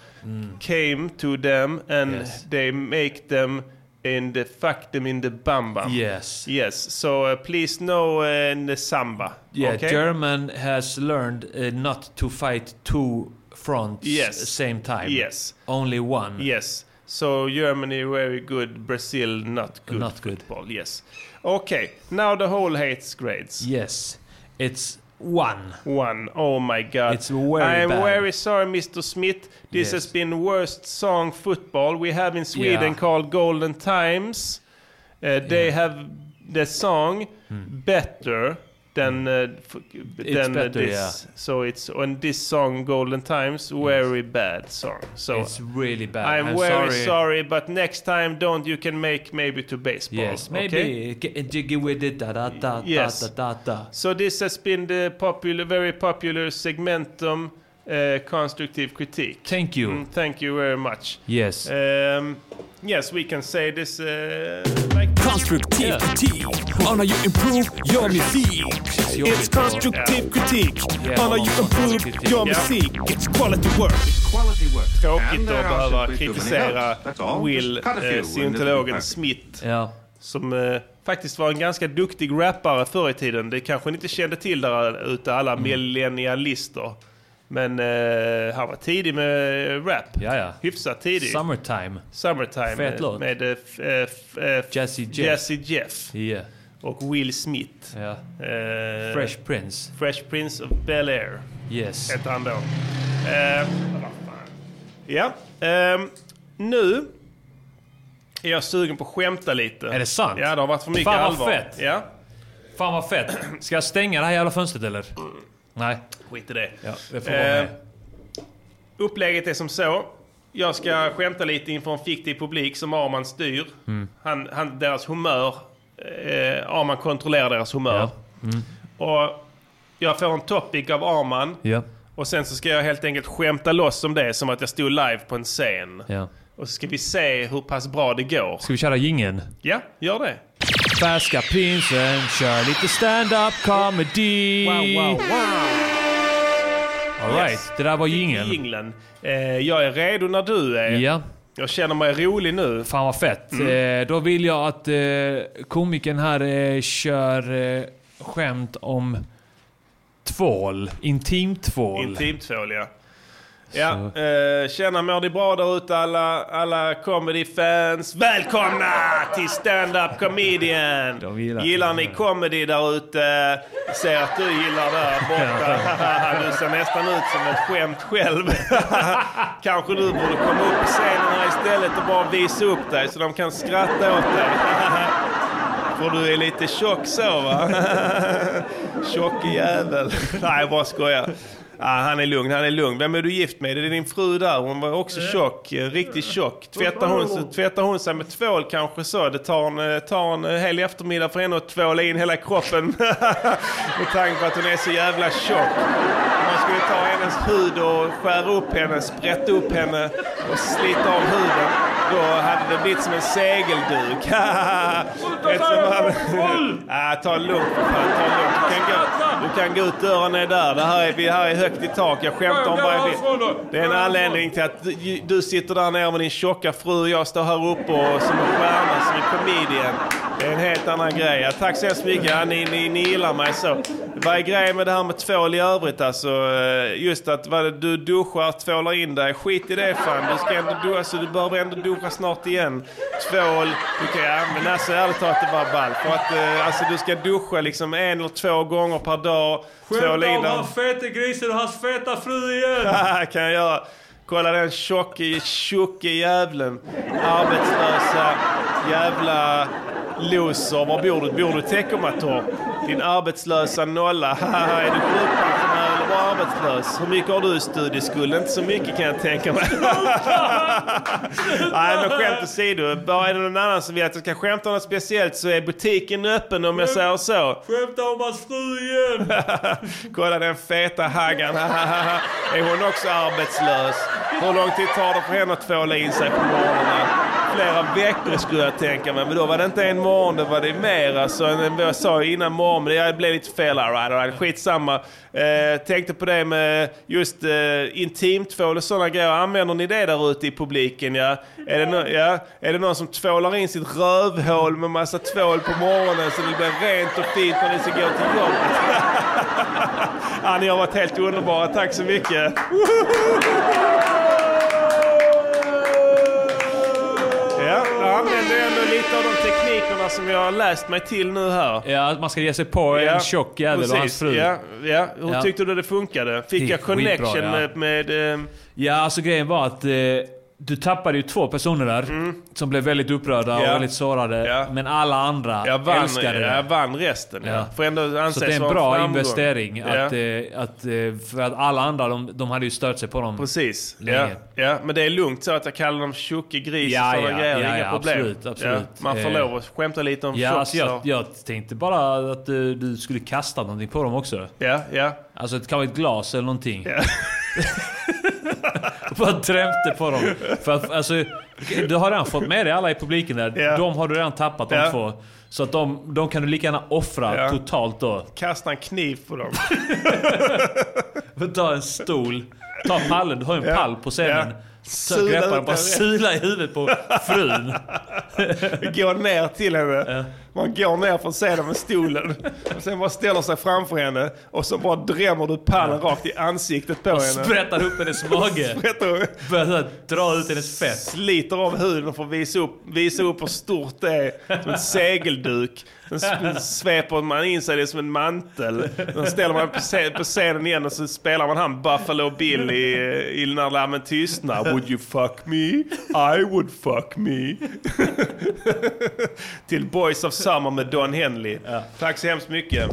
came to them, and Mm. Yes. they make them in the fuck them in the bam bam. yes Yes. So uh, please no uh, in the samba. yeah okay? German has learned uh, not to fight two fronts Yes. the same time Yes. only one Yes. So Germany very good, Brazil not good. Not good. Football. Yes. Okay. Now the whole hates grades. yes it's one One. Oh my God. It's very I am bad. very sorry, Mr. Smith. This Yes. has been worst song football we have in Sweden Yeah. called Golden Times. Uh, they have the song better than uh, f- than uh, Hmm. better, this. yeah. So it's on this song Golden Times very bad song. So it's really bad I'm, very sorry. but next time don't. You can make maybe to baseball. yes maybe okay? get jiggy with it da da da Yes. da da da da So this has been the popular, very popular segmentum eh, constructive critique. Thank you. Mm, thank you very much. Yes. Um, yes, we can say this uh, like Constructive critique on how you improve your music. It's constructive critique on how you improve your music. It's quality work. Quality work. Tråkigt And att there are behöva simply too many kritisera notes. That's all. Will, Just cut a few eh, and it'll be scientologen perfect. Smith. Ja. Som eh, faktiskt var en ganska duktig rappare förr i tiden. Det kanske ni inte kände till där eh, ute, alla Mm. millennialister. Men eh, han var tidig med eh, rap. Ja, ja. Hyfsat tidig. Summertime. Summertime Fet eh, låt. med eh, f- eh, f- eh, f- Jazzy Jeff. Jazzy Jeff. Yeah. Och Will Smith. Ja. Eh, Fresh Prince. Fresh Prince of Bel-Air. Yes. Hette han då. Eh, vad fan. ja. ehm, nu är jag sugen på att skämta lite. Är det sant? Ja, det har varit för mycket Fan vad allvar. fett. Ja. Fan vad fett. Ska jag stänga det här jävla fönstret eller? Nej. Skit i det. Eh. Ja, det får vara med. Upplägget är som så. Jag ska skämta lite inför en fiktiv publik som Arman styr. Mm. Han, han, deras humör. Eh, Arman kontrollerar deras humör. Mm. Och jag får en topic av Arman. Ja. Och sen så ska jag helt enkelt skämta loss om det som att jag stod live på en scen. Ja. Och så ska vi se hur pass bra det går. Ska vi köra jingeln? Ja, gör det. Färska prinsen, kör lite stand-up comedy. Wow, wow, wow. Alright, Yes. det där var jingeln. Jinglen. Eh, jag är redo när du är. Ja. Jag känner mig rolig nu. Mm. Fan vad fett. Eh, då vill jag att eh, komikern här eh, kör eh, skämt om tvål. Intimtvål. Intimtvål, ja. Ja, eh, tjena mår ni bra där ute alla, alla comedy-fans? Välkomna till stand-up comedian! gillar- gillar ni comedy där ute? Ser att du gillar där borta. Du ser nästan ut som ett skämt själv. Kanske du borde komma upp på scenen här istället och bara visa upp dig så de kan skratta åt dig. För du är lite tjock så va? Tjocke jävel. Nej, jag bara skojar. Ah, han är lugn, han är lugn. Vem är du gift med? Det är din fru där. Hon var också tjock. eh, Riktigt tjock. Tvättar hon, tvättar hon sig med tvål kanske så? Det tar en, eh, tar en eh, hel eftermiddag för henne att tvåla in hela kroppen. med tanke på att hon är så jävla tjock. Man skulle ta hennes hud och skära upp henne, sprätta upp henne och slita av huden. Då hade det blivit som en segelduk. Eftersom han... ah, ta det lugnt för fan, ta det lugnt. Du kan, gå, du kan gå ut, dörren är där. Det här är, vi här är högt i tak. Jag skämtar om vad jag vill. Det är en anledning till att du, du sitter där nere med din tjocka fru och jag står här uppe och som en stjärna, som en comedian. Det är en helt annan grej. Ja, tack så hemskt mycket. Ja, ni, ni, ni gillar mig så. Vad är grejen med det här med tvål i övrigt alltså? Eh, Just att vad, det- du duschar, tvålar in dig. Skit i det fan. Du ska ändå duscha, så du behöver ändå duscha snart igen. Tvål. Du kan, ja, men alltså ärligt talat det var ball. För att eh, alltså, du ska duscha liksom en eller två gånger per dag. Tvåla in dig. fete grisen och hans feta fru igen. Haha, kan jag göra. Kolla den tjocke, tjocke jävlen. Arbetslösa jävla loser. Var bor du? Bor du i Teckomatorp? Din arbetslösa nolla. Haha, är du sjukpensionär eller bara arbetslös? Hur mycket har du i studieskuld? Inte så mycket kan jag tänka mig. Nej, men skämt åsido. Bara är det någon annan som vill att jag ska skämta om något speciellt så är butiken öppen om jag säger så. Skämta om hans fru igen. Kolla den feta haggan. är hon också arbetslös? Hur lång tid tar det för henne att tvåla in sig på morgonen? Flera veckor skulle jag tänka mig, men då var det inte en morgon, det var det mer. Alltså, än vad jag sa innan morgon, men det blev lite fel. All right, all right, skitsamma. Eh, tänkte på det med just eh, intimtvål och sådana grejer. Använder ni det där ute i publiken? Ja? Är, det nå- ja? är det någon som tvålar in sitt rövhål med massa tvål på morgonen så det blir rent och fint när ni ska gå till jobbet? Ja, ni har varit helt underbara. Tack så mycket. Ja, jag använder ändå lite av de teknikerna som jag har läst mig till nu här. Ja, att man ska ge sig på en tjock jävel och hans precis. fru. Ja, ja. Hur Ja. tyckte du det funkade? Fick Gick jag connection skitbra, ja. med... med ehm, Ja, alltså grejen var att eh, du tappade ju två personer där som blev väldigt upprörda Mm. Ja. och väldigt sårade. Men alla andra jag, vann, älskade det. jag vann resten. Ja. Ja. Får ändå anses Så det är en vara bra framgång. investering. Att, Ja. eh, att, eh, för att alla andra, de, de hade ju stört sig på dem. Precis. Ja, länge. ja, men det är lugnt så att jag kallar dem tjocke gris Ja, och sådana ja, grejer. ja, Inga ja, problem. absolut, absolut. Man får Eh, lov att skämta lite om Ja, tjock, alltså så. jag, jag tänkte bara att eh, du skulle kasta någonting på dem också. Ja, ja. Alltså ett, kanske ett glas eller någonting. Bara drämte på dem. För att, alltså, du har redan fått med dig alla i publiken där. Ja. De har du redan tappat de Ja. två. Så att de, de kan du lika gärna offra Ja. totalt då. Kasta en kniv på dem. Ta en stol, ta pallen, du har ju en Ja. pall på scenen. Ja. Så Sula greppar ut den, bara den. sula i huvudet på frun. Gå ner till henne. Man går ner från scenen med stolen. Och sen bara ställer sig framför henne. Och så bara drämmer du pallen rakt i ansiktet på Och henne. sprättar upp hennes mage. Sprättar- Börjar så här dra ut hennes fett. Sliter av huden för att visa upp, visa upp hur stort det är. Som en segelduk. Sen s- sveper man in sig det som en mantel. Sen ställer man på sce- på scenen igen och så spelar man han Buffalo Bill i, i När lammen tystnar. Would you fuck me? I would fuck me. Till Boys of Summer med Don Henley. Tack så hemskt mycket.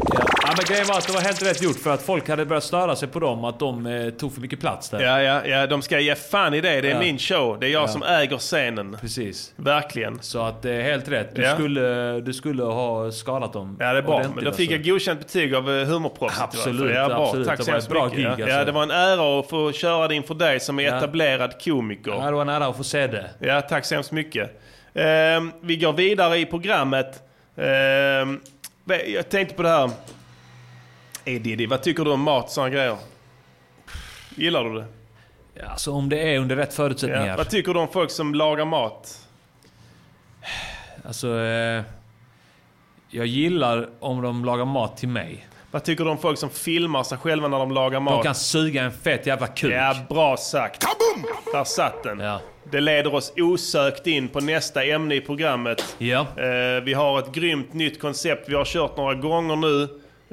Ja, men grejen var att det var helt rätt gjort för att folk hade börjat störa sig på dem att de eh, tog för mycket plats där. Ja, ja, ja, de ska ge fan i det. Det är Ja. min show. Det är jag Ja. som äger scenen. Precis. Verkligen. Så att det är helt rätt. Du, Ja. skulle, eh, du skulle ha skadat dem Ja, det är bra. ordentligt, Men då fick alltså. jag godkänt betyg av eh, humorproffset. i alla fall. Absolut, ja, bra. absolut. Tack Det så var hemskt ett bra mycket. gig, ja. alltså. ja, det var en ära att få köra det inför dig som är Ja. etablerad komiker. Ja, det var en ära att få se det. Ja, tack så hemskt mycket. Ehm, vi går vidare i programmet. Ehm, ve- jag tänkte på det här. Hey Diddy, vad tycker du om mat och sådana grejer? Gillar du det? Alltså om det är under rätt förutsättningar. Ja. Vad tycker du om folk som lagar mat? Alltså, eh, jag gillar om de lagar mat till mig. Vad tycker du om folk som filmar sig själva när de lagar mat? De kan suga en fet jävla kuk. Ja, bra sagt. Där satt den. Det leder oss osökt in på nästa ämne i programmet. Eh, vi har ett grymt nytt koncept vi har kört några gånger nu.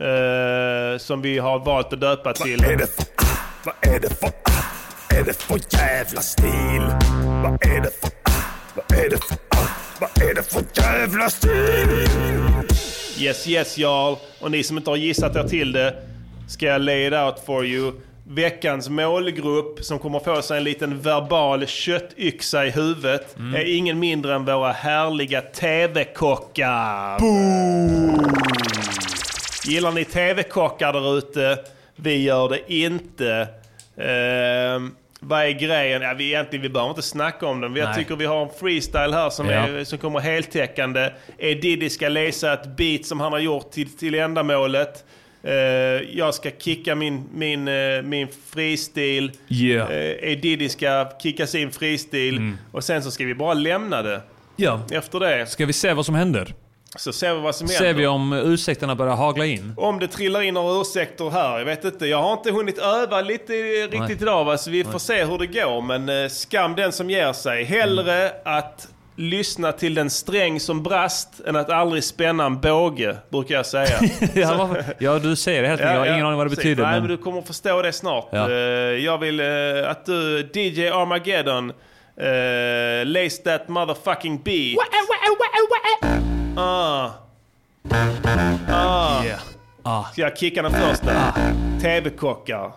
Eh, som vi har valt att döpa till... Vad är det för... Vad är det för... Vad är det för jävla stil? Vad är det för... Vad är det för... ah, Vad är det för jävla stil? Yes, yes y'all. Och ni som inte har gissat er till det ska jag lay it out for you. Veckans målgrupp som kommer få sig en liten verbal köttyxa i huvudet är ingen mindre än våra härliga TV-kockar. Gillar ni TV-kockar där ute? Vi gör det inte. Ehm, vad är grejen? Ja, vi, egentligen, vi behöver inte snacka om den. Jag Nej. tycker vi har en freestyle här som, Ja. är, som kommer heltäckande. Eh, Diddy ska läsa ett beat som han har gjort till, till ändamålet. Eh, jag ska kicka min, min, eh, min freestyle. Yeah. Eh, eh, Diddy ska kicka sin freestyle. Mm. Och sen så ska vi bara lämna det. Ja. Efter det Ska vi se vad som händer? så ser vi vad som händer. Ser vi om ursäkterna börjar hagla in? Om det trillar in några ursäkter här, jag vet inte. Jag har inte hunnit öva lite riktigt Nej. idag va? så vi får Nej. se hur det går. Men eh, skam den som ger sig. Hellre Mm. att lyssna till den sträng som brast än att aldrig spänna en båge, brukar jag säga. ja, varför- ja, du säger det helt enkelt. Jag har ingen aning vad det precis. betyder. Nej, men... men- du kommer förstå det snart. Ja. Eh, jag vill eh, att du, DJ Armageddon, uh, lace that motherfucking beat. Ah. Ah. Ska jag kicka den första? Ah. TV-kockar.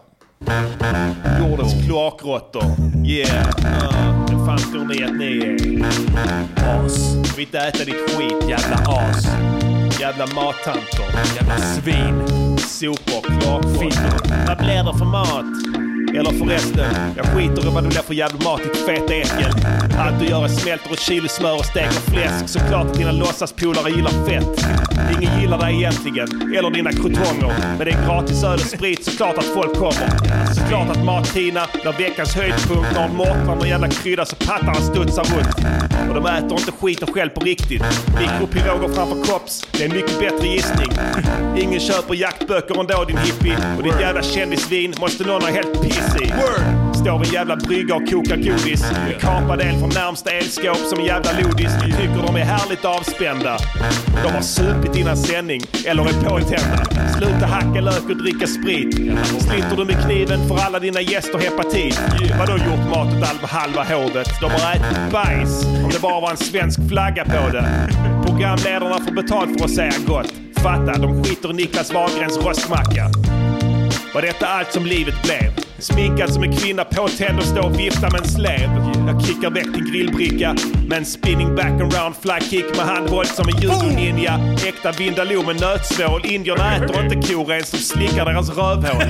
Jordens kloakråttor. Yeah. Ah. Det fan tror ni att ni är? As. Jag vill inte äta ditt skit. Jävla as. Jävla mattanter. Jävla svin. Sopor, kloakråttor. Vad blir det för mat? Eller förresten, jag skiter i vad du blir för jävla mat ditt feta äckel. Allt du gör är smälter ett kilo smör och steker fläsk. Såklart att dina låtsaspolare gillar fett. Ingen gillar dig egentligen, eller dina krutonger. Men det är gratis öl och sprit, såklart att folk kommer. Såklart att Martina blir veckans höjdpunkt när Mårtman och jävla krydda så pattarna studsar runt. Och de äter inte skiten själv på riktigt. Mikropiroger framför kops, det är en mycket bättre gissning. Ingen köper jaktböcker ändå din hippie. Och ditt jävla kändisvin måste någon ha helt piss i. Står vid en jävla brygga och kokar godis. Med kapad el från närmsta elskåp som en jävla lodis. Tycker de är härligt avspända. De har supit innan sändning, eller är påtända. Sluta hacka lök och dricka sprit. Sliter du med kniven får alla dina gäster hepatit. Vadå gjort mat åt halva, halva hovet? De har ätit bajs om det bara var en svensk flagga på det. Programledarna får betalt för att säga gott. Fatta, de skiter i Niklas Wahlgrens rostmacka. Var detta allt som livet blev? Sminkad som en kvinna, påtänd och står och viftar med en slev. Jag kickar väck din grillbricka, Men spinning back and round flag kick med handboll som en judo-ninja. Äkta vindaloo med nötsvål. Indierna äter inte koren som slickar deras rövhål.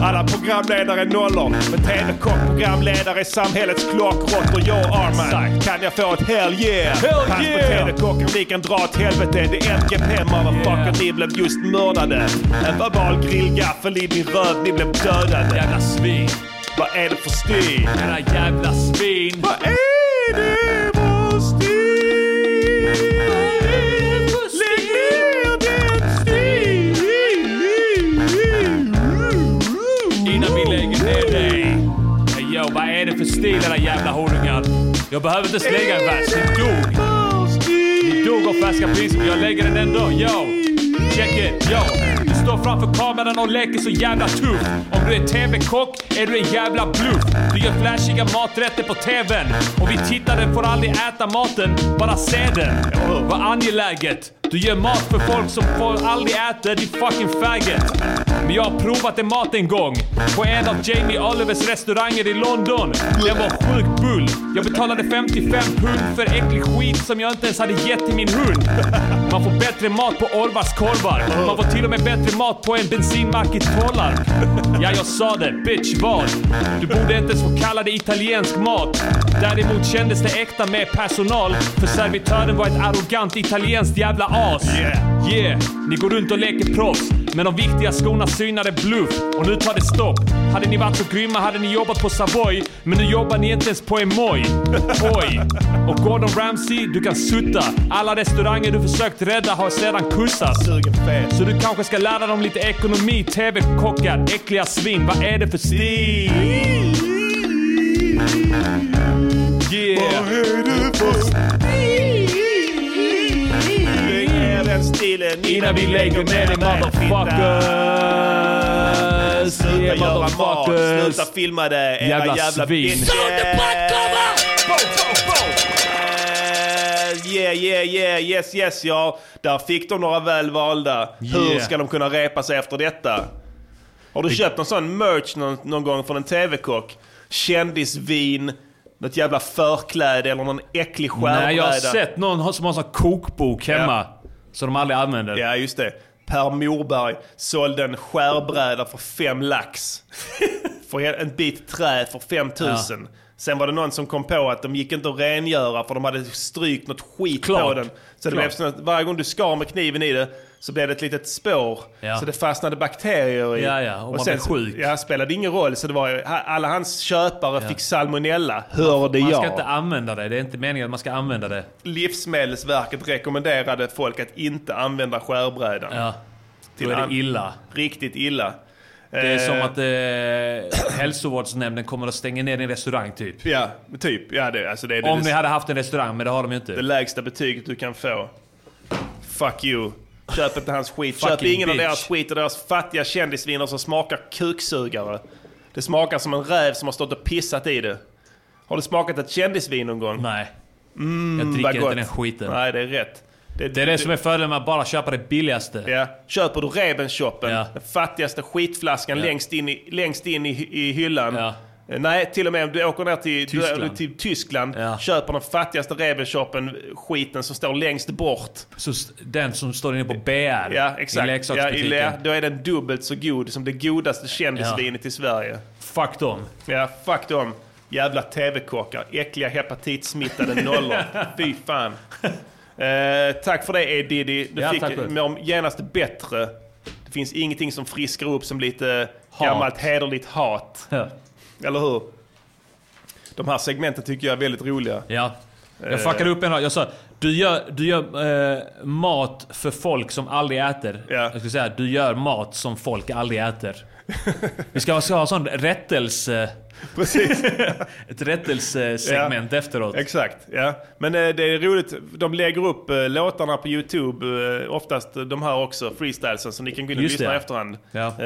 Alla programledare är nollor. Men TV-kock programledare är samhällets klockrotter. Jag Arman. Kan jag få ett hell yeah? Hell Pass på yeah! TV-kocken, ni kan dra åt helvete. Det är NGP motherfucker. Ni blev just mördade. En verbal grillgaffel i min röv. Ni blev dödade. Jävla svin. Vad är det för stil? Era jävla svin. Vad är det för stil? Lägg ner den stil! Innan vi lägger ner dig. Hey, Yo, vad är det för stil era jävla horungar? Jag behöver inte slänga en vers. Ni dog. Ni dog av färska priser, men jag lägger den ändå. Yo, check it. Yo. Du står framför kameran och leker så jävla tuff. Om du är TV-kock är du en jävla bluff. Du gör flashiga maträtter på TVn. Och vi tittare får aldrig äta maten, bara se den. Vad angeläget. Du gör mat för folk som får aldrig äter, din fucking faggot. Men jag har provat en mat en gång. På en av Jamie Olivers restauranger i London. Den var sjukt bull. Jag betalade 55 pund för äcklig skit som jag inte ens hade gett till min hund. Man får bättre mat på Orvars korvar. Man får till och med bättre mat på en bensinmack i Tollarp. Ja, jag sa det. Bitch, vad? Du borde inte ens få kalla det italiensk mat. Däremot kändes det äkta med personal. För servitören var ett arrogant italienskt jävla as. Yeah. Yeah, ni går runt och leker proffs. Men de viktiga skorna synade bluff. Och nu tar det stopp. Hade ni varit så grymma hade ni jobbat på Savoy. Men nu jobbar ni inte ens på Emoy. Oj! Och Gordon Ramsay, du kan sutta. Alla restauranger du försökt rädda har sedan kussats. Så du kanske ska lära dem lite ekonomi. TV-kockar, äckliga svin. Vad är det för stil? Yeah! Vad är det för stil? Lägg ner den stilen Innan vi lägger ner den motherfuckers. Sluta Yeah, göra mat, motherfuckers. sluta filma det, era Jävla jävla, svin. bitches. Eh, Yeah, yeah, yeah, yes, yes, ja. Där fick de några väl valda. Hur Yeah. ska de kunna repa sig efter detta? Har du köpt någon sån merch någon, någon gång från en TV-kock? Kändisvin, något jävla förkläde eller någon äcklig skärbräda? Nej, jag har sett någon ha- som har en sån här kokbok hemma. Som de aldrig använder. Ja, just det. Per Morberg sålde en skärbräda för fem lax. för en- en bit trä för 5000. Sen var det någon som kom på att de gick inte att rengöra för de hade strykt något skit på Klart. den. Så det Klart. blev så att varje gång du skar med kniven i det så blev det ett litet spår. Ja. Så det fastnade bakterier i. Ja, ja, och man blev så- sjuk. Ja, spelade ingen roll. Så det var ju, alla hans köpare fick salmonella, hörde Man jag. ska inte använda det. Det är inte meningen att man ska använda det. Livsmedelsverket rekommenderade folk att inte använda skärbrädan. Ja. Då är an- det illa. Riktigt illa. Eh, Det är som att eh, hälsovårdsnämnden kommer att stänga ner din restaurang typ. Ja, typ. Ja, det, alltså det är det, Om det, ni hade haft en restaurang, men det har de ju inte. det lägsta betyget du kan få. Fuck you. Köp inte hans skit. Köp Fucking ingen av bitch. deras skit och deras fattiga kändisviner som smakar kuksugare. Det smakar som en räv som har stått och pissat i det. Har du smakat ett kändisvin någon gång? Nej. Mm, Jag dricker vad inte gott. den skiten. Nej, det är rätt. Det är det som är fördelen med att bara köpa det billigaste. Ja. Köper du Rebenshoppen, Ja. den fattigaste skitflaskan Ja. längst in i, längst in i, i hyllan. Eh, Nej, till och med om du åker ner till Tyskland, Tyskland. du, till Tyskland köper den fattigaste Rebenshoppen-skiten som står längst bort. Så s- den som står inne på BR Ja, exakt. i ja, i leksaksbutiken. le, då är den dubbelt så god som det godaste kändisvinet i Sverige. Fuck dem. Ja, fuck dem. Jävla TV-kockar. Äckliga hepatitsmittade nollor. Fy fan. Eh, tack för det, E. Diddy. Du Ja, fick tack för det. mår genast bättre. Det finns ingenting som friskar upp som lite Hat. gammalt hederligt hat. Ja. Eller hur? De här segmenten tycker jag är väldigt roliga. Ja. Eh. Jag fuckade upp en rad. Jag sa du gör, du gör eh, mat för folk som aldrig äter. Jag skulle säga du gör mat som folk aldrig äter. Vi ska, ska ha sån rättelse... Precis. Ett rättelsesegment efteråt. Exakt, ja. Men eh, det är roligt. De lägger upp eh, låtarna på YouTube, eh, oftast de här också, freestylesen, så ni kan gå in och Just lyssna det, i ja. efterhand. Ja. Eh,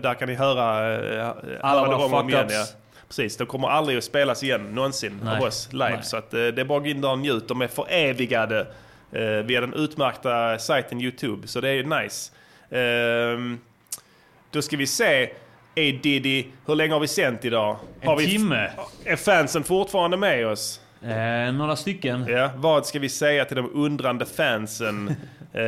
där kan ni höra, eh, Alla höra våra det om och om igen. fuck-ups. Ja. Precis, de kommer aldrig att spelas igen någonsin Nej. av oss live. Nej. Så att, eh, det är bara att gå in där och njut. De är förevigade eh, via den utmärkta sajten YouTube, så det är nice. Ehm, då ska vi se, Ey Diddy, hur länge har vi sänt idag? En har vi timme. Är fansen fortfarande med oss? Eh, några stycken. Ja, vad ska vi säga till de undrande fansen? eh,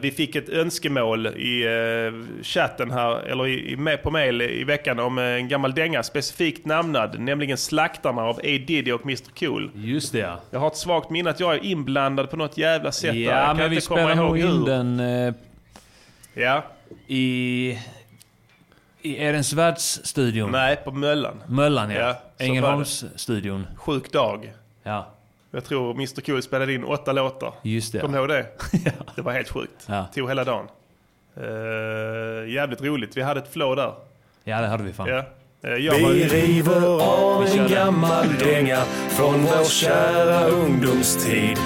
vi fick ett önskemål i eh, chatten här, eller i, i, med på mail i veckan om eh, en gammal dänga specifikt namnad, nämligen Slaktarna av A. Diddy och Mr Cool. Just det ja. Jag har ett svagt minne att jag är inblandad på något jävla sätt. där. jag Ja, kan men inte vi komma spelar nog ihåg in hur. den eh, Ja. i... I Edens Världs-studion. Nej, på Möllan. Möllan ja. Ja, så var det. Ängelholms-studion. Sjuk dag. Ja. Jag tror Mr Cool spelade in åtta låtar. Just det. Kommer du ihåg det? Det var helt sjukt. Ja. Tog hela dagen. Eh, jävligt roligt. Vi hade ett flow där. Ja, det hade vi fan. Ja. Eh, jag var- Vi river av Vi kör en den. gammal dänga från vår kära ungdomstid.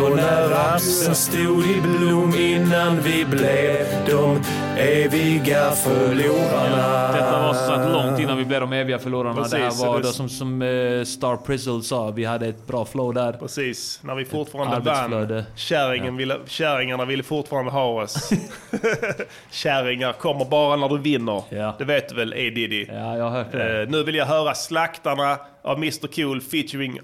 Då när rapsen stod i blom innan vi blev de eviga förlorarna. Detta var som sagt långt innan vi blev de eviga förlorarna. det Precis, här var det- då som, som eh, Star Prizzle sa, vi hade ett bra flow där. Precis, när vi fortfarande arbetsflöde. vann. Kärringen ville, kärringarna ville fortfarande ha oss. Kärringar kommer bara när du vinner. Det vet du väl, A. Diddy? Ja, jag har hört det. Eh, nu vill jag höra Slaktarna av Mr Cool featuring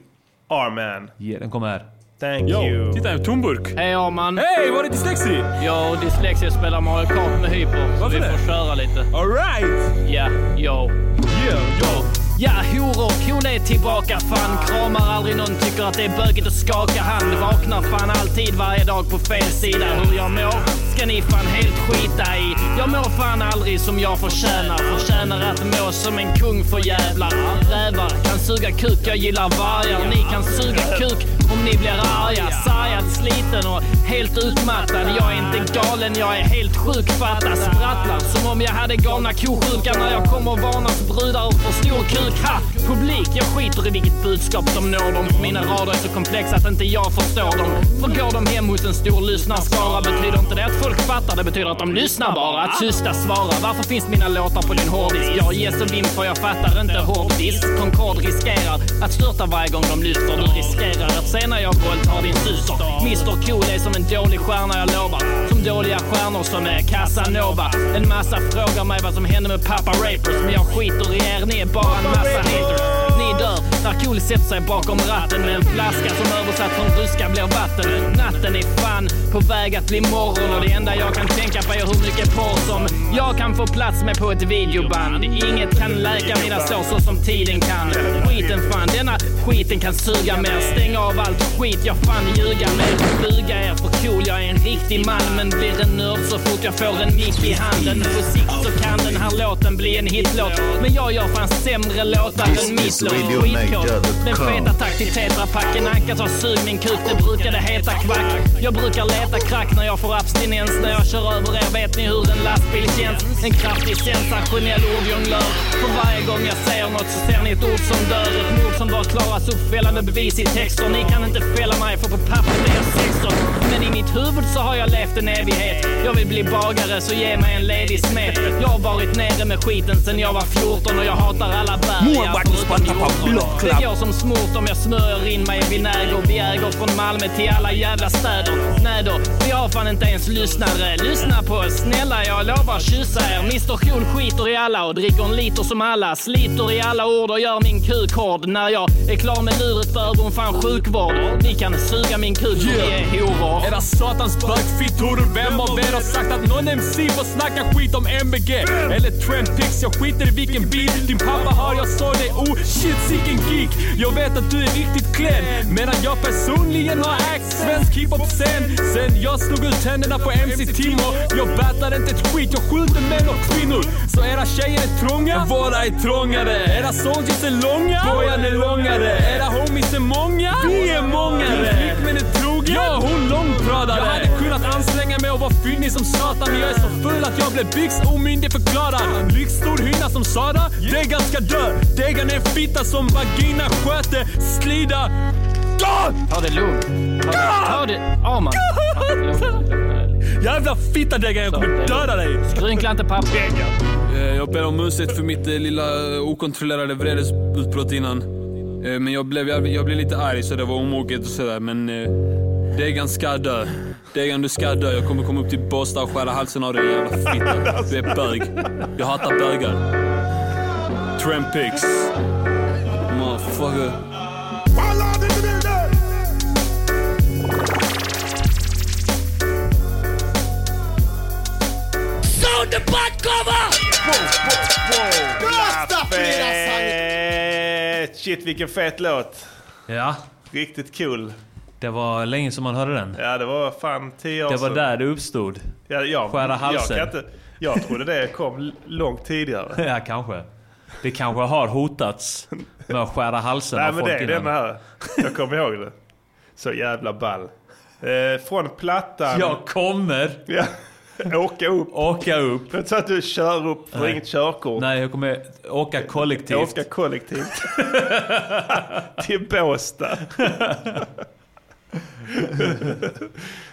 R-Man. Ja, den kommer här. Thank you. Titta, en tomburk! Hej Arman! Hej, var det dyslexi? Jag och dyslexia spelar Mario Kart med hyper. så vi får köra lite. Alright! Ja, yo. Yeah, yo. Ja, horor, hon är tillbaka fan. Kramar aldrig någon, tycker att det är bögigt att skaka hand. Vaknar fan alltid varje dag på fel sida. Hur jag mår ska ni fan helt skita i. Jag mår fan aldrig som jag förtjänar. Förtjänar att må som en kung för jävlar. Rävar kan suga kuk, jag gillar vargar. Ni kan suga kuk om ni blir arga. Sargad, sliten och helt utmattad. Jag är inte galen, jag är helt sjuk. Fatta, sprattlar som om jag hade galna kosjukan när jag kommer och varnas brudar för stor kuk. Ha! Publik, jag skiter i vilket budskap som når dem. Mina rader är så komplexa att inte jag förstår dem. För går de hem mot en stor lyssnarskara betyder inte det att folk fattar. Det betyder att de lyssnar bara. Att tysta svara. Varför finns mina låtar på din hårddisk? Jag ges och vim för jag fattar inte hårddisk. Concord riskerar att störta varje gång de lyfter. Du riskerar att se när jag våldtar din syster. Mr Cool är som en dålig stjärna, jag lovar. Som dåliga stjärnor som är Casanova. En massa frågar mig vad som hände med Papa Rapers. Men jag skiter i er, ni är bara en massa haters. Ni dör när Cool sätter sig bakom ratten med en flaska som översatt från ryska blir vatten. Natten är fan på väg att bli morgon och det enda jag kan tänka på är hur mycket porr som jag kan få plats med på ett videoband. Inget kan läka mina sår så som tiden kan. Skiten fan, denna skiten kan suga mer. Stäng av allt skit jag fan ljuga med. Buga er för cool, jag är en riktig man men blir en nörd så fort jag får en mick i handen. På sikt så kan den här låten bli en hitlåt. Men jag gör fan sämre låtar än mitt låt. Skitkåt. Men feta tack till tetrapacken. Anka sa sug min kuk, det brukade heta kvack. Jag brukar leta krack när jag får abstinens. När jag kör över er vet ni hur en lastbil känns. En kraftig sensationell ordjonglör. För varje gång jag säger något så ser ni ett ord som dör. Ett mord som var Klaras uppfällande bevis i texter. Ni kan inte fälla mig för på pappret är jag 16. Men i mitt huvud så har jag levt en evighet. Jag vill bli bagare så ge mig en ledig smet. Jag har varit nere med skiten sen jag var 14 och jag hatar alla bär. jag Målvakt i Sparta på det blocklapp. går som smort om jag smörjer in mig i vinäger. Vi äger från Malmö till alla jävla städer. Nej då, vi har fan inte ens lyssnare. Lyssna på oss, snälla jag lovar kyssa er. Mr Cool skiter i alla och dricker en liter som alla. Sliter i alla ord och gör min kuk hård. När jag är klar med luret behöver hon fan sjukvård. Ni kan suga min kuk, ni är horor. Era satans bögfittor, vem av er har sagt att någon MC får snacka skit om MBG? Eller Trampix, jag skiter i vilken bil din pappa har, jag sa det, oh shit sicken geek! Jag vet att du är riktigt klen, medan jag personligen har ägt svensk hiphop sen Sen jag slog ut tänderna på MC Timo, jag battar inte ett skit, jag skjuter män och kvinnor Så era tjejer är trånga, våra är trångare Era songs är långa, bojan är långare Era homies är många, vi är mångare men är trogen. Ja, hon långtradare. Jag hade kunnat anstränga mig och vara fyndig som satan. Men jag är så full att jag blev byx omyndigförklarad. Lyxstor hynna som Sara. Degan ska dö. Degan är en fitta som vagina sköter. Slida. Ta det lugnt. Ta det- Ta det, Arman. Ta det lugnt. Jävla fitta Degan, jag kommer döda dig. Skrynkla inte papper. Eh, Jag ber om ursäkt för mitt eh, lilla eh, okontrollerade vredesutbrott innan. Eh, Men jag blev, jag, jag blev lite arg så det var omoget och sådär. Men eh, Degan ska dö. Degan du ska dö. Jag kommer komma upp till Båstad och skära halsen av dig jävla fitta. Du är bög. Jag hatar bögar. Trampix. Motherfucker. Alla, det, det, det, mot en backcover! Rösta Eh, Shit vilken fet låt. Ja. Riktigt cool. Det var länge som man hörde den. Ja det var fan tio år Det var sedan. där det uppstod. Ja, ja, Skära halsen. Jag, kan inte, jag trodde det kom l- långt tidigare. Ja, kanske. Det kanske har hotats med att skära halsen Nej av men folk det är innan. den här. Jag kommer ihåg det. Så jävla ball. Eh, från plattan. Jag kommer Ja. Åka upp. Åka upp. Men så att du kör upp för Nej. inget körkort. Nej, jag kommer åka kollektivt. Åka kollektivt. Till Båstad.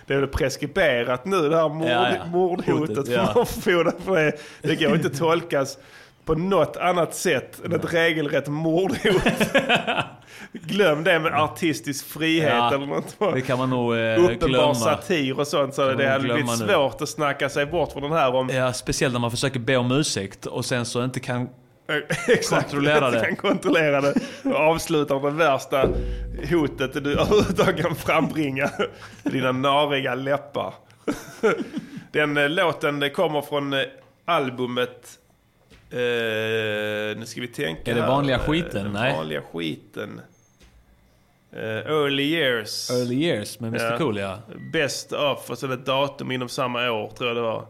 det är väl preskriberat nu det här mord, Ja, ja. mordhotet. Hotet, för ja. Fornfoda, för det, det går inte att tolkas på något annat sätt än ett regelrätt mordhot. Glöm det med artistisk frihet Ja, eller något. det kan man nog eh, Uppenbar glömma. satir och sånt. Så Kan det man hade blivit glömma nu. svårt att snacka sig bort från den här om Ja, speciellt när man försöker be om ursäkt och sen så inte kan... Eh, Exakt, Kontrollera det. Du kan kontrollera det och avsluta med det värsta hotet du överhuvudtaget kan frambringa. Med dina nariga läppar. Den eh, låten eh, kommer från eh, albumet... Eh, nu ska vi tänka Är det här. vanliga Eh, skiten? Den Nej. vanliga skiten. Eh, early years. Early Years med Mr Cool, ja. Best of och sen ett datum inom samma år tror jag det var.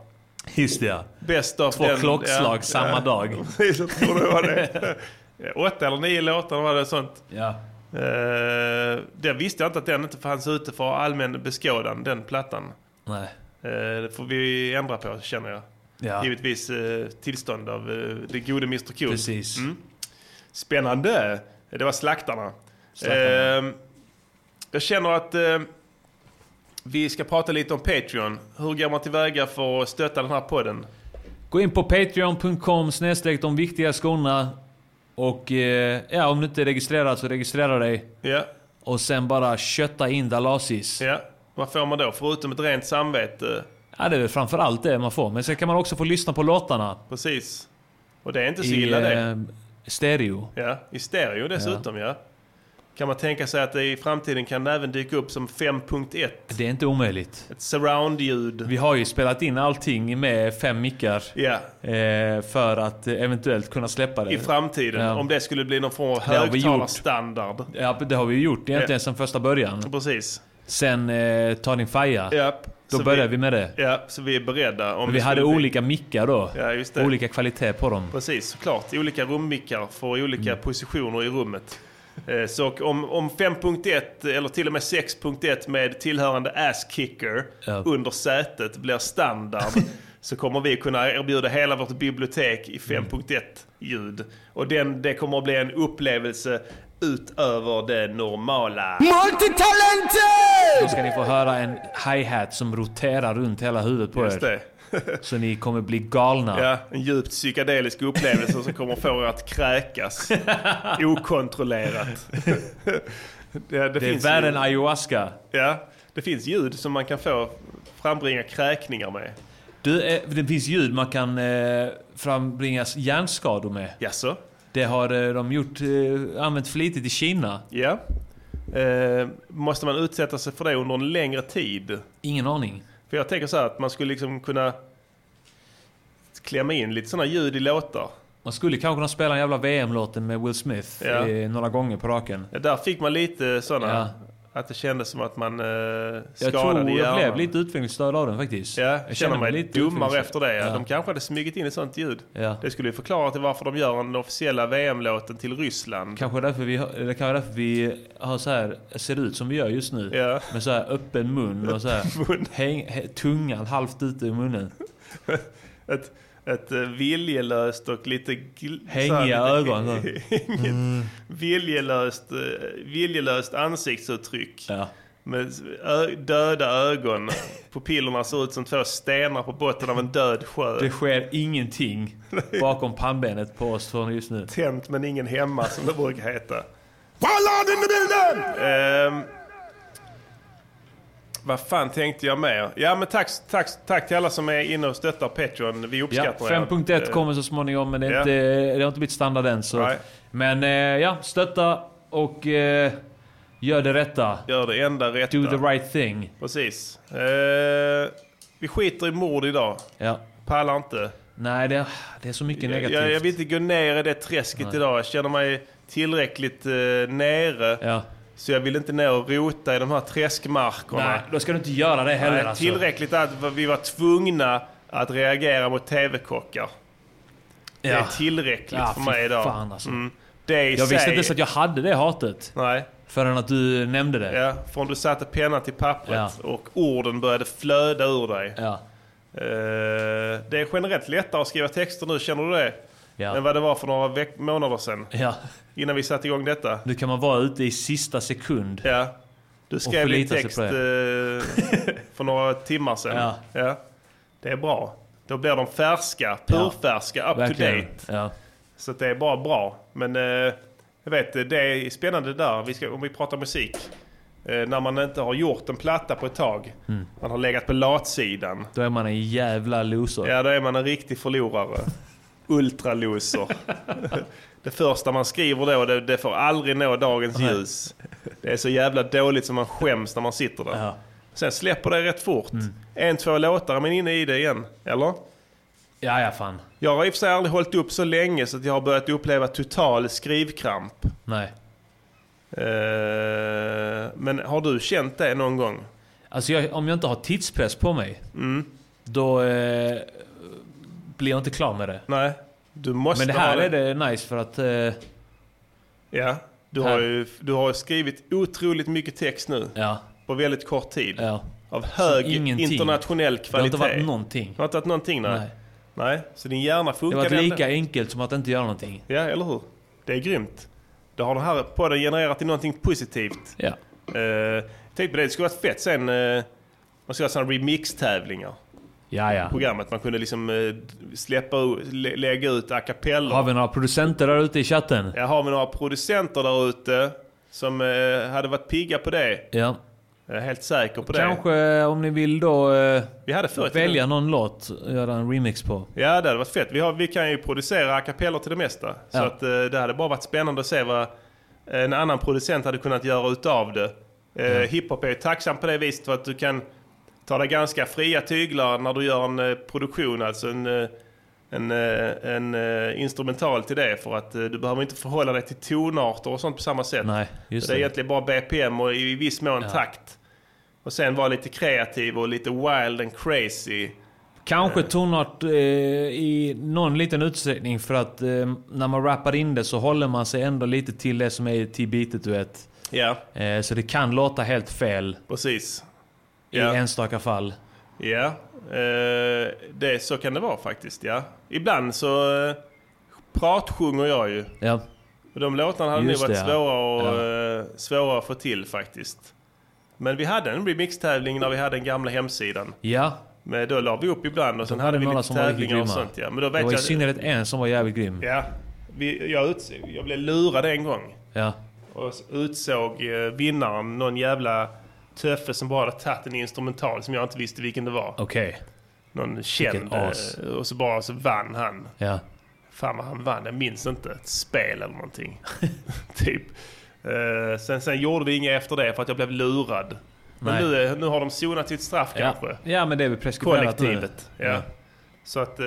Just det, ja. Best of Två den, klockslag ja, samma ja. dag. Precis, jag tror det var det. Ja, Åtta eller nio låtar var det sånt. Ja. Eh, det visste jag inte att den inte fanns ute för allmän beskådan, den plattan. Nej. Eh, det får vi ändra på känner jag. Ja. Givetvis eh, tillstånd av eh, det gode Mr Cool. Precis. Mm. Spännande! Det var Slaktarna. Slaktarna. Eh, jag känner att eh, vi ska prata lite om Patreon. Hur går man tillväga för att stötta den här podden? Gå in på patreon.com snedstreck de viktiga skorna. Och eh, ja, om du inte är registrerad så registrera dig. Ja. Och sen bara kötta in Dalasis. Ja. Vad får man då? Förutom ett rent samvete? Ja, det är väl framförallt det man får. Men sen kan man också få lyssna på låtarna. Precis. Och det är inte så illa det. eh, stereo. Ja, i stereo dessutom ja. Kan man tänka sig att det i framtiden kan även dyka upp som 5.1? Det är inte omöjligt. Ett surround-ljud. Vi har ju spelat in allting med fem mickar. Ja. Eh, för att eh, eventuellt kunna släppa det. I framtiden, Ja. om det skulle bli någon form av Det har vi gjort. högtalarstandard. Ja, det har vi ju gjort egentligen sedan första början. Precis. Sen eh, Ta din faja. Japp. Då Så började vi med det. Ja, så vi är beredda. Om Men vi det hade skulle bli- olika mickar då. Ja, just det. Olika kvalitet på dem. Precis, såklart. Olika rummickar för olika Mm. positioner i rummet. Eh, Så och om, om 5.1 eller till och med 6.1 med tillhörande ass-kicker Ja. under sätet blir standard så kommer vi kunna erbjuda hela vårt bibliotek Mm. i 5.1-ljud. Och den, det kommer att bli en upplevelse utöver det normala. Då ska ni få höra en hi-hat som roterar runt hela huvudet på Just er. det. Så ni kommer bli galna. Ja, en djupt psykedelisk upplevelse som kommer få er att kräkas okontrollerat. Det, det är finns värre ljud. än ayahuasca. Ja, det finns ljud som man kan få frambringa kräkningar med. Du, eh, det finns ljud man kan eh, frambringa hjärnskador med. Jaså? Det har eh, de gjort, eh, använt flitigt i Kina. Ja. Eh, måste man utsätta sig för det under en längre tid? Ingen aning. För jag tänker så här att man skulle liksom kunna klämma in lite sådana ljud i låtar. Man skulle kanske kunna spela den jävla VM-låten med Will Smith Ja. eh, några gånger på raken. Ja, där fick man lite sådana. Ja. Att det kändes som att man eh, Jag skadade tror jag hjärnan. blev lite utvecklingsstörd av den faktiskt. Ja, jag känner mig lite dummare utvecklingsstörd. efter det. Ja. Ja. De kanske hade smugit in ett sånt ljud. Ja. Det skulle ju förklara till varför de gör den officiella VM-låten till Ryssland. Kanske därför vi, har- eller kanske därför vi har så här, ser ut som vi gör just nu. Ja. Med så här öppen mun och så här, Häng, hä- tungan halvt ute ur munnen. Ett, ett eh, viljelöst och lite... Gl- Hängiga så här lite- ögon, va? Inget viljelöst, eh, viljelöst ansiktsuttryck. Ja. Med ö- döda ögon. Pupillerna ser ut som två stenar på botten av en död sjö. Det sker ingenting bakom pannbenet på oss från just nu. Tänt men ingen hemma som det brukar heta. Ballad in the building! Ehm, vad fan tänkte jag med? Ja men tack, tack, tack till alla som är inne och stöttar Patreon. Vi Ja, uppskattar er. 5.1 Eh, kommer så småningom men det, är Ja. inte, det har inte blivit standard än. Så. Nej. Men eh, ja, stötta och eh, gör det rätta. Gör det enda rätta. Do the right thing. Precis. Eh, vi skiter i mord idag. Ja. Pallar inte. Nej, det, det är så mycket Jag, negativt. jag jag vill inte gå ner i det träsket Nej. idag. Jag känner mig tillräckligt eh, nere. Så jag vill inte ner och rota i de här träskmarkerna. Nej, då ska du inte göra det heller. Nej, alltså. Tillräckligt att vi var tvungna att reagera mot TV-kockar. Det Ja. är tillräckligt Ja, för fy mig idag. Mm. fan, alltså. Det i Jag visste sig- inte ens att jag hade det hatet. Nej. Förrän att du nämnde det. Ja, från du satte pennan till pappret och orden började flöda ur dig. Eh, det är generellt lättare att skriva texter nu, känner du det? Ja. Än vad det var för några veck- månader sedan. Ja. Innan vi satte igång detta. Nu kan man vara ute i sista sekund. Ja. Du och skrev din förlita sig text på det. eh, för några timmar sedan. Ja. Det är bra. Då blir de färska, purfärska, up Verkligen. to date. Ja. Så att det är bara bra. Men eh, jag vet, det är spännande där, vi ska, om vi pratar musik. Eh, när man inte har gjort en platta på ett tag. Mm. Man har legat på latsidan. Då är man en jävla loser. Ja, då är man en riktig förlorare. Ultraloser. det första man skriver då, det, det får aldrig nå dagens ljus. Det är så jävla dåligt som man skäms när man sitter där. Sen släpper det rätt fort. En, två låtar, men inne i det igen. Eller? Ja, ja fan. Jag har i och för sig aldrig hållit upp så länge så att jag har börjat uppleva total skrivkramp. Nej. Eh, men har du känt det någon gång? Alltså jag, om jag inte har tidspress på mig. Mm. Då eh, blir jag inte klar med det. Nej. Du måste Men det här ha är det nice för att... Eh, Ja, du Här. har, ju, du har ju skrivit otroligt mycket text nu. På väldigt kort tid. Av hög ingenting. internationell Det har kvalitet. inte varit någonting. Det har inte varit någonting, nej. Nej. nej. så din hjärna det funkar har varit ändå. lika enkelt som att inte göra någonting. Ja, eller hur? Det är grymt. Då har den här podden genererat till någonting positivt. Ja. Eh, tänk på det, det skulle varit fett sen. eh, man skulle ha sådana remix-tävlingar. Ja, ja. Programmet. Man kunde liksom eh, släppa, u- lä- lägga ut a cappella. Har vi några producenter där ute i chatten? Jag har vi några producenter där ute som eh, hade varit pigga på det. Ja. Jag är helt säker på det. Kanske om ni vill då eh, Vi hade förut. välja någon låt och göra en remix på. Ja, det hade varit fett. Vi, har, vi kan ju producera a cappella till det mesta. Så Ja. att, eh, det hade bara varit spännande att se vad en annan producent hade kunnat göra utav det. Eh, Hiphop är ju tacksam på det viset för att du kan ta dig ganska fria tyglar när du gör en eh, produktion, alltså en, eh, en, eh, en eh, instrumental till det. För att eh, du behöver inte förhålla dig till tonarter och sånt på samma sätt. Nej, just Så det är det. egentligen bara BPM och i viss mån Ja. takt. Och sen vara lite kreativ och lite wild and crazy. Kanske tonart eh, i någon liten utsträckning för att eh, när man rappar in det så håller man sig ändå lite till det som är till beatet du vet. Ja. Eh, så det kan låta helt fel. Precis. I Ja. enstaka fall. Ja, eh, det, så kan det vara faktiskt. Ja. Ibland så eh, pratsjunger jag ju. Ja. Och De låtarna hade nog Just varit det, ja. svåra, och, Ja. eh, svåra att få till faktiskt. Men vi hade en remix-tävling när vi hade den gamla hemsidan. Ja. Men då la vi upp ibland och sen hade vi några lite som var riktigt tävlingar och grymma. sånt. Ja. Men då det vet var i jag, synnerhet en som var jävligt grym. ja, vi, jag, uts- jag blev lurad en gång. Ja. Och s- utsåg eh, vinnaren någon jävla töffe som bara hade tagit en instrumental som jag inte visste vilken det var. Okej. Någon känd. Vilken as. eh, Och så bara så vann han. Ja. Fan vad han vann, jag minns inte. Ett spel eller någonting. typ. Eh, sen, sen gjorde vi inget efter det för att jag blev lurad. Men Nej. nu, är- nu har de sonat sitt straff Ja. kanske. ja, men det är väl preskriberat nu. Kollektivet. Ja. Ja. Så att... eh,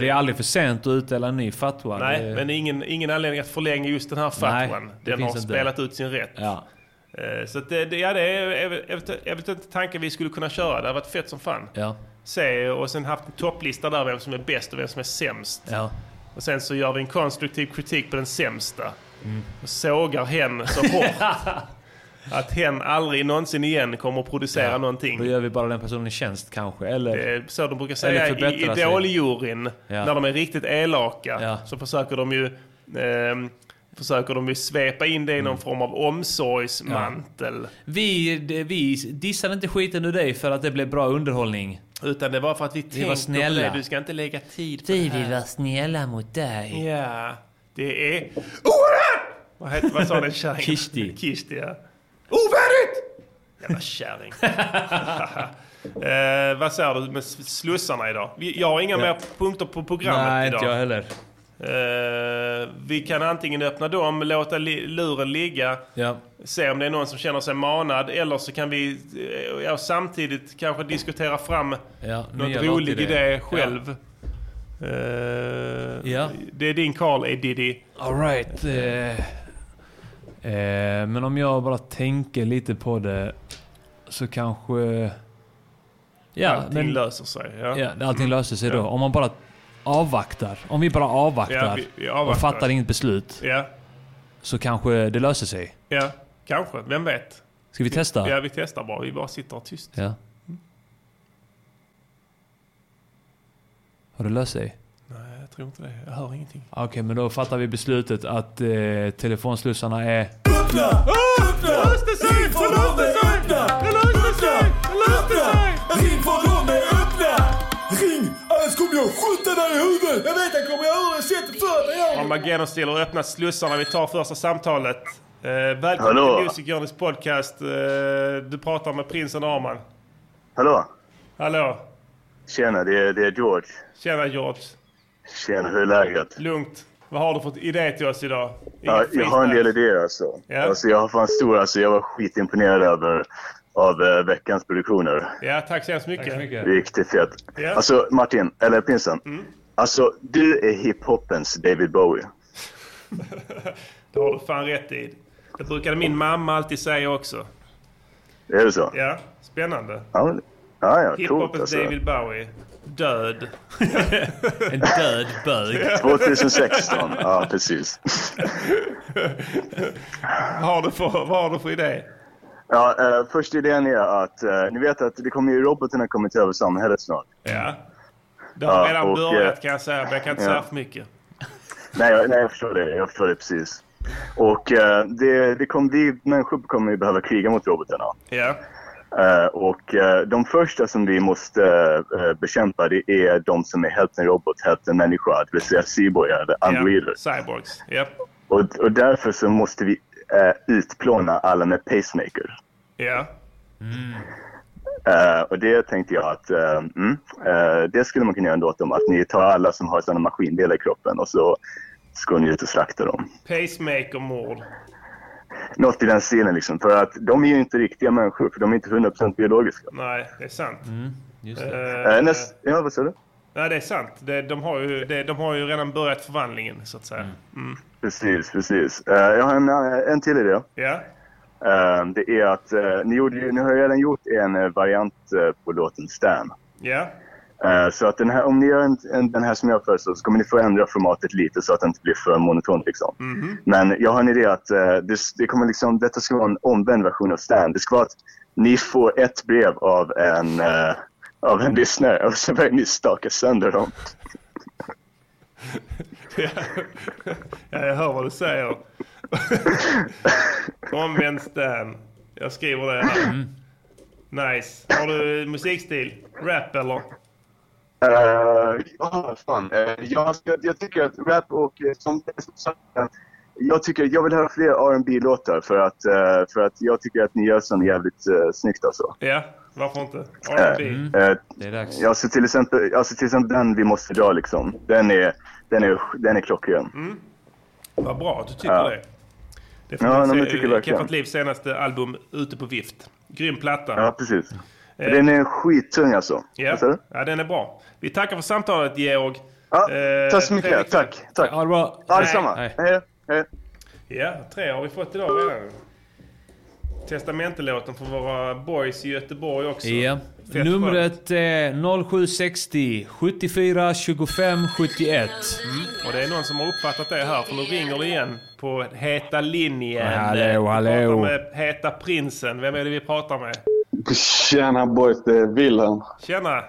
Det är aldrig för sent att utdela en ny fatwa. Nej, det... men ingen, ingen anledning att förlänga just den här Nej, fatwan. det Den har finns inte. spelat ut sin rätt. Ja. Eh, Så att det, det, ja, det är ev- ev- eventuellt en tanke vi skulle kunna köra. Det har varit fett som fan. Ja. Se, och sen haft en topplista där vem som är bäst och vem som är sämst. Ja. Och sen så gör vi en konstruktiv kritik på den sämsta. Mm. Och sågar hen så hårt att hen aldrig någonsin igen kommer att producera någonting. Då gör vi bara den personen en tjänst kanske. Eller... Det är så de brukar Eller säga i förbättra sig. idoljuryn. Ja. När de är riktigt elaka så försöker de ju ehm, Försöker de ju svepa in det i någon Mm. form av omsorgsmantel. Vi, det- vi dissade inte skiten ur dig för att det blev bra underhållning. Utan det var för att vi tänkte var på snälla. det. Du ska inte lägga tid på Vi det här. vill vara snälla mot dig. Ja, det är... Oh, vad, heter, vad sa den kärringen? Kishti. Kishti, ja. Ovärdigt! Jävla kärring. eh, vad säger du med s- slussarna idag? Vi, jag har inga Ja. mer punkter på programmet Nej, idag. inte jag heller. Eh, vi kan antingen öppna dem, låta li- luren ligga, Ja. se om det är någon som känner sig manad, eller så kan vi eh, ja, samtidigt kanske diskutera fram Ja, något nya rolig låtidé. idé själv. Eh, Det är din Carl A. Diddy. Alright. Eh, eh, men om jag bara tänker lite på det så kanske... Ja, allting men- löser sig. Ja. Mm. Ja, allting löser sig Ja. då. Om man bara avvaktar. Om vi bara avvaktar, Ja, vi- vi avvaktar. och fattar inget beslut. Ja. Så kanske det löser sig. Ja, kanske. Vem vet? Ska vi testa? Ja, vi testar bara. Vi bara sitter tyst. Ja. Har det löst sig? Nej, jag tror inte det. Jag hör ingenting. Okej, men då fattar vi beslutet att eh, telefonslussarna är... Öppna! Öppna! Löste sig! Din fördom är öppna! Det löste sig! Det löste sig! Din fördom är öppna! Ring, annars kommer jag skjuta dig i huvudet! Jag vet, jag kommer göra det. Sätt dig för dig! Om Mageno Steel har öppnat slussarna. Vi tar första samtalet. Eh, välkommen Hallå. till Music Journeys podcast. Eh, du pratar med prinsen Arman. Hallå? Hallå. Tjena, det är, det är George. Tjena George. Tjena, hur är läget? Lugnt. Vad har du för idé till oss idag? Ja, Inget jag har en freestyle. del idéer alltså. Ja. alltså. Jag har fan stor, alltså, jag var skitimponerad över av eh, veckans produktioner. Ja, tack så hemskt mycket. Tack så mycket. Riktigt fett. Ja. Mm. Alltså Martin, eller Pinsen. Alltså, du är hiphopens David Bowie. Det har du fan rätt i. Det brukade min mamma alltid säga också. Är det så? Ja, spännande. Ja, ja, ja coolt Hiphopens alltså. David Bowie. Död. en död bög. 2016, ja precis. vad, har du för, vad har du för idé? Ja, eh, första idén är att, eh, ni vet att det kommer ju robotarna kommer ta över samhället snart. Ja. Det har Ja, redan och, börjat eh, kan jag säga, men jag kan inte ja. säga för mycket. Nej, jag, nej, jag förstår det. Jag förstår det precis. Och eh, det, det kom, vi människor kommer ju behöva kriga mot robotarna. Ja. Eh, och eh, de första som vi måste eh, bekämpa det är de som är hälften robot, hälften människa. Det vill säga cyborgar, the ja. androider. Cyborgs. Ja. Och, och därför så måste vi eh, utplåna alla med pacemaker. ja. Eh, och det tänkte jag att eh, mm, eh, det skulle man kunna göra ändå åt dem. Att ni tar alla som har sådana maskindelar i kroppen och så ska ni ut och slakta dem. Pacemaker-mord. Något i den stilen liksom. För att de är ju inte riktiga människor, för de är inte 100% biologiska. Nej, det är sant. Mm, Just Eh, näst, ja, vad sa du? Nej, det är sant. Det, de, har ju, det, de har ju redan börjat förvandlingen, så att säga. Mm. Precis, precis. Eh, jag har en, en till idé. Ja. Eh, det är att eh, ni, gjorde, ju- ni har ju redan gjort en eh, variant eh, på låten Stan. Ja. Eh, så att den här, om ni gör en, en, den här som jag föreslår så kommer ni få ändra formatet lite så att den inte blir för monoton liksom. Mhm. Men jag har en idé att eh, det, det kommer liksom, detta ska vara en omvänd version av Stan. Det ska vara att ni får ett brev av en, eh, av en lyssnare och så börjar ni staka sönder dem. ja, jag hör vad du säger. Omvänd Stan. Jag skriver det här. Mm. Nice. Har du musikstil? Rap eller? Eh, ja, fan. Eh, jag, jag, jag tycker att rap och eh, som, som sagt, eh, jag, tycker, jag vill höra fler rb låtar för att, eh, för att jag tycker att ni gör sånt jävligt uh, snyggt alltså. Ja, varför inte? Eh, R&B. eh, Det är dags. Ja, så till exempel, alltså till exempel den vi måste dra liksom. Den är, den är, den är klockren. Mm. Vad bra att du tycker Ja. det. Det Ja, nej, men jag finns tycker ja, verkligen. Keffat Livs senaste album ute på vift. Grym platta. Ja, precis. Eh. Den är skittung alltså. Ja. Vad sa du? ja, den är bra. Vi tackar för samtalet Georg. Eh, Tack så mycket. Fredrik- Tack. tack. Ha det bra. Ja, detsamma. Nej. Hej. Hej. Ja, tre har vi fått idag redan. Testamentelåten från våra boys i Göteborg också. Ja. Fett Numret är 0760 74 25 71. Mm. Och det är någon som har uppfattat det här, för nu ringer det igen på Heta linjen. Hallå, hallå. eh, Vi pratar med Heta prinsen. Vem är det vi pratar med? Tjena boys, det är Wilhelm. Tjena!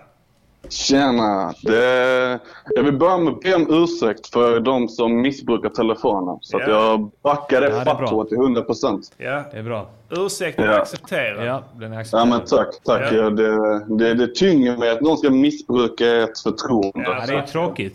Tjena! Det... Jag vill börja med att be om ursäkt för de som missbrukar telefonen. Så att Ja. jag backar det Ja, det är bra. fattordet till 100 procent. Ja. Det är bra. Ursäkta Ja. acceptera. Ja, den är Ja, men tack. tack. Ja. Ja. Det, det, det tynger mig att någon ska missbruka ett förtroende.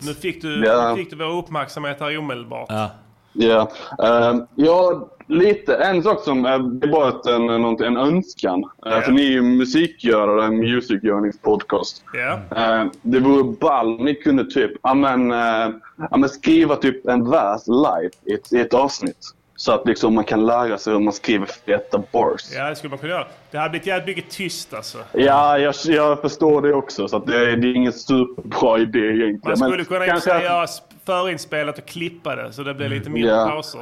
Nu fick du, Ja. nu fick du vår uppmärksamhet här omedelbart. Ja. Ja, eh, Ehm, ja, lite. En sak som eh, det är bara ett, en, en, en önskan. Eh, För ni är ju musikgörare, Music Yearnings podcast. Ja. Ehm, Eh, det vore ball om ni kunde typ, ja men, eh, ja, men skriva typ en vers live i ett, i ett avsnitt. Så att liksom man kan lära sig hur man skriver feta bars. Ja, det skulle man kunna göra. Det hade blivit jävligt mycket tyst alltså. Ja, jag, jag förstår det också. Så att det, det är ingen superbra idé egentligen. Man skulle Men kunna kanske kanske... att- Mm, göra sp- förinspelat och klippa det så det blir lite mindre Ja. pauser.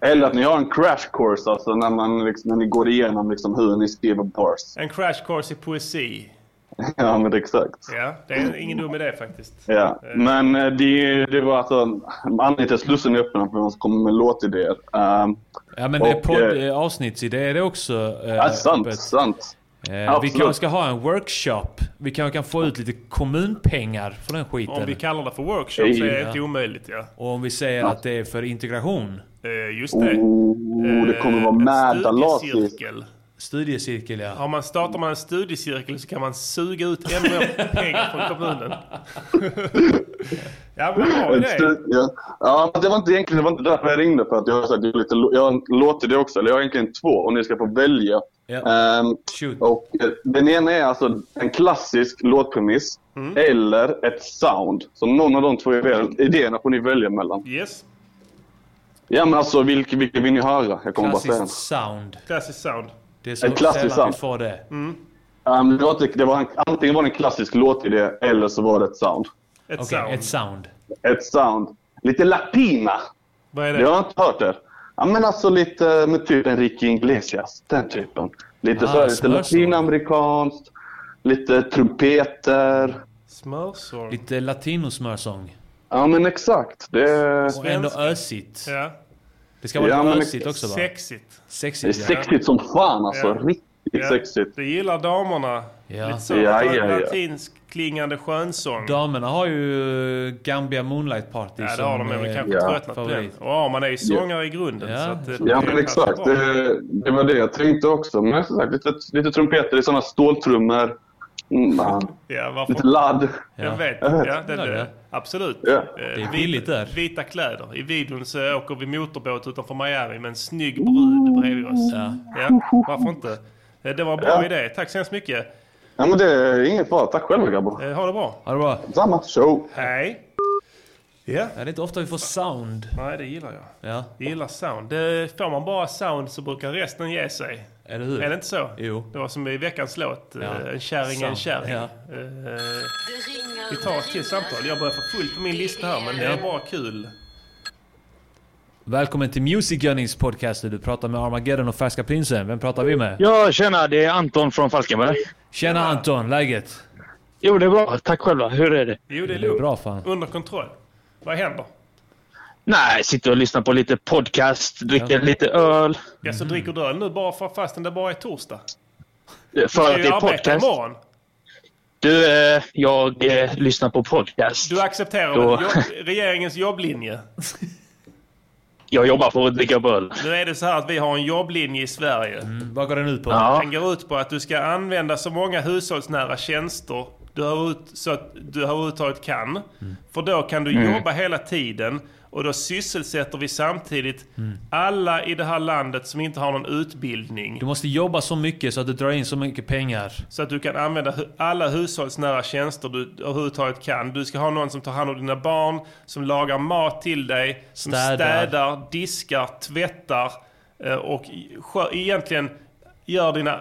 Eller att ni har en crash course, alltså när, man liksom, när ni går igenom liksom hur ni skriver bars. En crash course i poesi. ja, men exakt. Ja, det är ingen dum idé faktiskt. Ja. Men eh, det, det var alltså anledningen till att slussen är öppen, är för att man ska komma med låtidéer. Ehm, Ja men det är och, podd, eh, eh, avsnittsidé är det också. eh, Ja, sant, öppet. sant. Eh, vi Absolut. kanske ska ha en workshop. Vi kanske kan få ut lite kommunpengar för den skiten. Om vi kallar det för workshop så är det inte omöjligt ja. Och om vi säger att det är för integration. Eh, just det. Oh, det kommer vara Eh, en mad lasis. studiecirkel. Studiecirkel ja. Har man, startar man en studiecirkel så kan man suga ut ännu mer pengar från kommunen. ja, men bra En idé. stu- Ja, ja men det var inte egentligen det var inte därför jag ringde. För att jag har sagt det är lite, lo- jag har en låtidé också. Eller jag har egentligen två och ni ska få välja. Ja. Ehm, och, eh, den ena är alltså en klassisk låtpremiss. Mm. Eller ett sound. Så någon av de två idéer- idéerna får ni välja mellan. Yes. Ja men alltså vilken vilken vill ni höra? Jag kommer bara säga Klassiskt sound. Klassiskt sound. Mm. Det är En så klassisk sällan sound. vi får det. den. Ehm, det var inte- det var en, antingen var det en klassisk låtidé eller så var det ett sound. Ett sound. Ett sound. Ett sound. Lite latina. Vad är det? Jag har inte hört det. Ja, men alltså lite med typ Enrique Iglesias. Den typen. Lite Ah, så här, lite smörsång. latinamerikanskt. Lite trumpeter. Smörsång. Lite latinosmörsång. Ja men exakt. Det är... Och ändå ösigt. Ja. Det ska vara Ja, men- lite ösigt också va? Sexigt. Det är Sexigt ja. sexigt som fan alltså. Ja. Riktigt Ja. sexigt. Det gillar damerna. Lite så. Ja, ja, ja. Latinsk klingande skönsång. Damerna har ju Gambia Moonlight Party Ja, det som har de. Men vi eh, kanske tröttnat på den. favorit. Och Arman är ju sångare i grunden. Så att eh, det, Ja det men passar exakt. bra. Det, det var det jag tänkte också. Men som sagt, lite, lite trumpeter i sådana ståltrummor. Mm, ja. Ja, varför? Lite ladd. Jag vet. Jag Ja, vet. det, det, Absolut. Ja. Det är billigt där. Vita kläder. I videon så åker vi motorbåt utanför Miami med en snygg brud bredvid oss. Ja. varför inte? Eh, Det var en bra Ja. idé. Tack så hemskt mycket. Ja men det är inget bra. Tack själva grabbar. Eh, Ha det bra. Ha det bra. Samma. Show. Hej. Ja. Det är inte ofta vi får sound. Nej, det gillar jag. Ja. Jag gillar sound. Det, får man bara sound så brukar resten ge sig. Eller hur? Är det inte så? Jo. Det var som i veckans låt. eh, Ja. En kärring är en Sound. kärring. Ja. Eh, vi tar ett till samtal. Jag börjar få fullt på min lista här, men det är bara kul. Välkommen till Music Gunnings podcast. Du pratar med Armageddon och Färska Prinsen. Vem pratar vi med? Ja, tjena. Det är Anton från Falkenberg. Tjena Anton, läget? Jo, det är bra. Tack själva. Hur är det? Jo, det är Det är lugnt. bra fan. Under kontroll. Vad händer? Nej, sitter och lyssnar på lite podcast, dricker lite öl. Ja, Mm. så dricker du öl nu bara för fastän det bara är torsdag? Eh, För att det är podcast. imorgon. Du, eh, jag eh, lyssnar på podcast. Du accepterar Då- väl jobb, regeringens jobblinje? Jag jobbar för att dricka upp öl. Nu är det så här att vi har en jobblinje i Sverige. Mm, Vad går den ut på? Ja. Den går ut på att du ska använda så många hushållsnära tjänster du har ut, så att du har överhuvudtaget kan. För då kan du Mm. jobba hela tiden och då sysselsätter vi samtidigt Mm. alla i det här landet som inte har någon utbildning. Du måste jobba så mycket så att du drar in så mycket pengar. Så att du kan använda hu- alla hushållsnära tjänster du överhuvudtaget kan. Du ska ha någon som tar hand om dina barn, som lagar mat till dig, som Städar. städar, diskar, tvättar eh, och i- skö- egentligen gör dina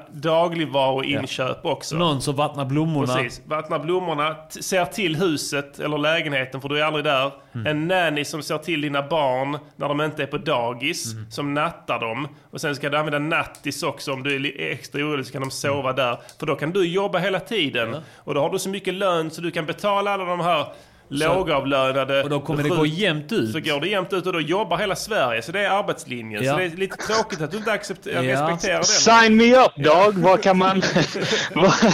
dagligvaruinköp också. Någon som vattnar blommorna. Precis. Vattnar blommorna, t- ser till huset eller lägenheten för du är aldrig där. Mm. En nanny som ser till dina barn när de inte är på dagis, Mm. som nattar dem. Och sen ska du använda nattis också om du är li- extra orolig så kan Mm. de sova där. För då kan du jobba hela tiden. Och då har du så mycket lön så du kan betala alla de här lågavlönade. Och då kommer det gå jämnt ut. Så går det jämnt ut och då jobbar hela Sverige. Så det är arbetslinjen. Ja. Så det är lite tråkigt att du inte accepterar, Ja. respekterar den. Sign me up, dog! Vad kan man... Vad-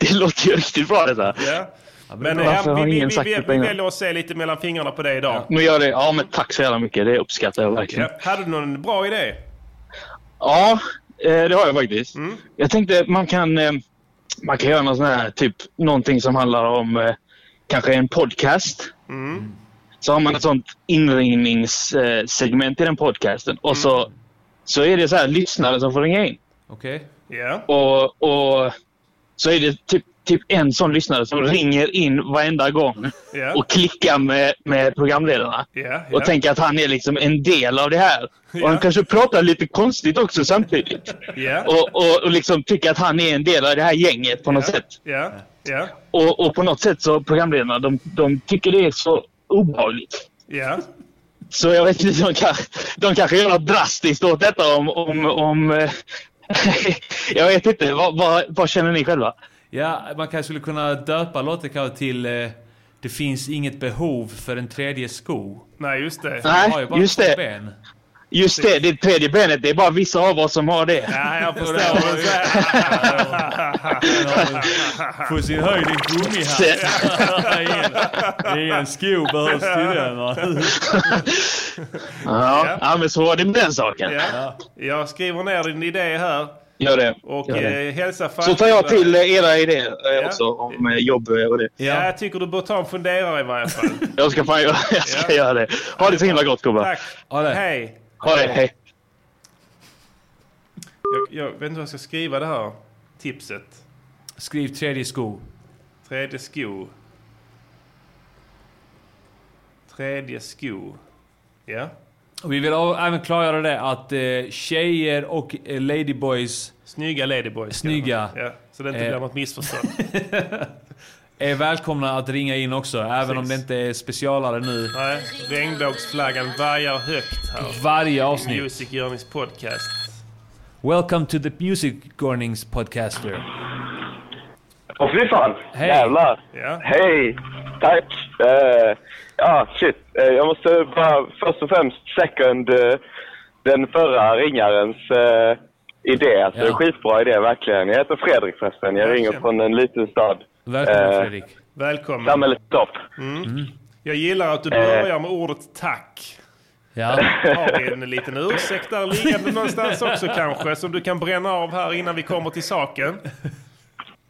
det låter ju riktigt bra detta. Ja. Men eh, Varför ja, vi, har vi, vi, ingen sagt vi, det på vi en gång? väljer att se lite mellan fingrarna på det idag. Nu gör det. Ja, men tack så jävla mycket. Det uppskattar jag verkligen. Ja. Hade du någon bra idé? Ja, eh, det har jag faktiskt. Jag tänkte man kan, eh, man kan göra någon sån här, typ, någonting som handlar om eh, kanske en podcast. Så har man ett sånt inringningssegment i den podcasten. Och så, så är det så här lyssnare som får ringa in. Okej. Ja. Och, och så är det typ typ en sån lyssnare som ringer in varenda gång Mm. Ja. och klickar med, med programledarna. Ja, Och tänker att han är liksom en del av det här. Och han kanske pratar lite konstigt också samtidigt. Ja. Och, och, och liksom tycker att han är en del av det här gänget på något sätt. Ja. Ja. Och, och på något sätt så programledarna, de, de tycker det är så obehagligt. Ja. Så jag vet inte, de, kan, de kanske gör något drastiskt åt detta om... om, om eh, jag vet inte, vad, vad, vad känner ni själva? Ja, man kanske skulle kunna döpa låten kanske till eh, Det finns inget behov för en tredje sko. Nej, just det. Han har ju bara just två det. ben. Just det, det tredje benet, det är bara vissa av oss som har det. Ja, jag förstår. På sin höjd en gummihatt. Ingen sko behövs till den. va? Ja, ja, men så var det med den saken. Ja. Jag skriver ner din idé här. Gör det. Och Gör det. eh, hälsa Så tar jag till eh, era idéer eh, Ja. också om eh, jobb eh, och det. Ja. Jag tycker du bör ta en funderare i varje fall. Jag ska fan göra, jag ska göra det. Ha det så himla gott gubbar. Tack. Hej. Ha det, hej. Jag, jag vet inte vad jag ska skriva det här tipset. Skriv tredje sko. Tredje sko. Tredje sko. Ja. Och vi vill av- även klargöra det att eh, tjejer och eh, ladyboys... Snygga ladyboys. Snygga. Eh. ja. Så det inte blir något missförstånd. är välkomna att ringa in också, även om det inte är specialare nu. Nej, regnbågsflaggan vajar högt här. Varje avsnitt. I Music Journeys podcast. Welcome to the Music Gornings podcaster. Åh fy fan! Hej. Jävlar! Hej! Tack! Eh, ja, shit. Eh, jag måste bara först och främst second eh, den förra ringarens eh, idé. Alltså, Ja. det är skitbra idé verkligen. Jag heter Fredrik förresten. Jag ringer från en liten stad. Välkommen, Eh, Fredrik. Välkommen. Samhällets topp. Mm. Jag gillar att du börjar med ordet tack. Ja. Har vi en liten ursäkt där liggande någonstans också kanske som du kan bränna av här innan vi kommer till saken?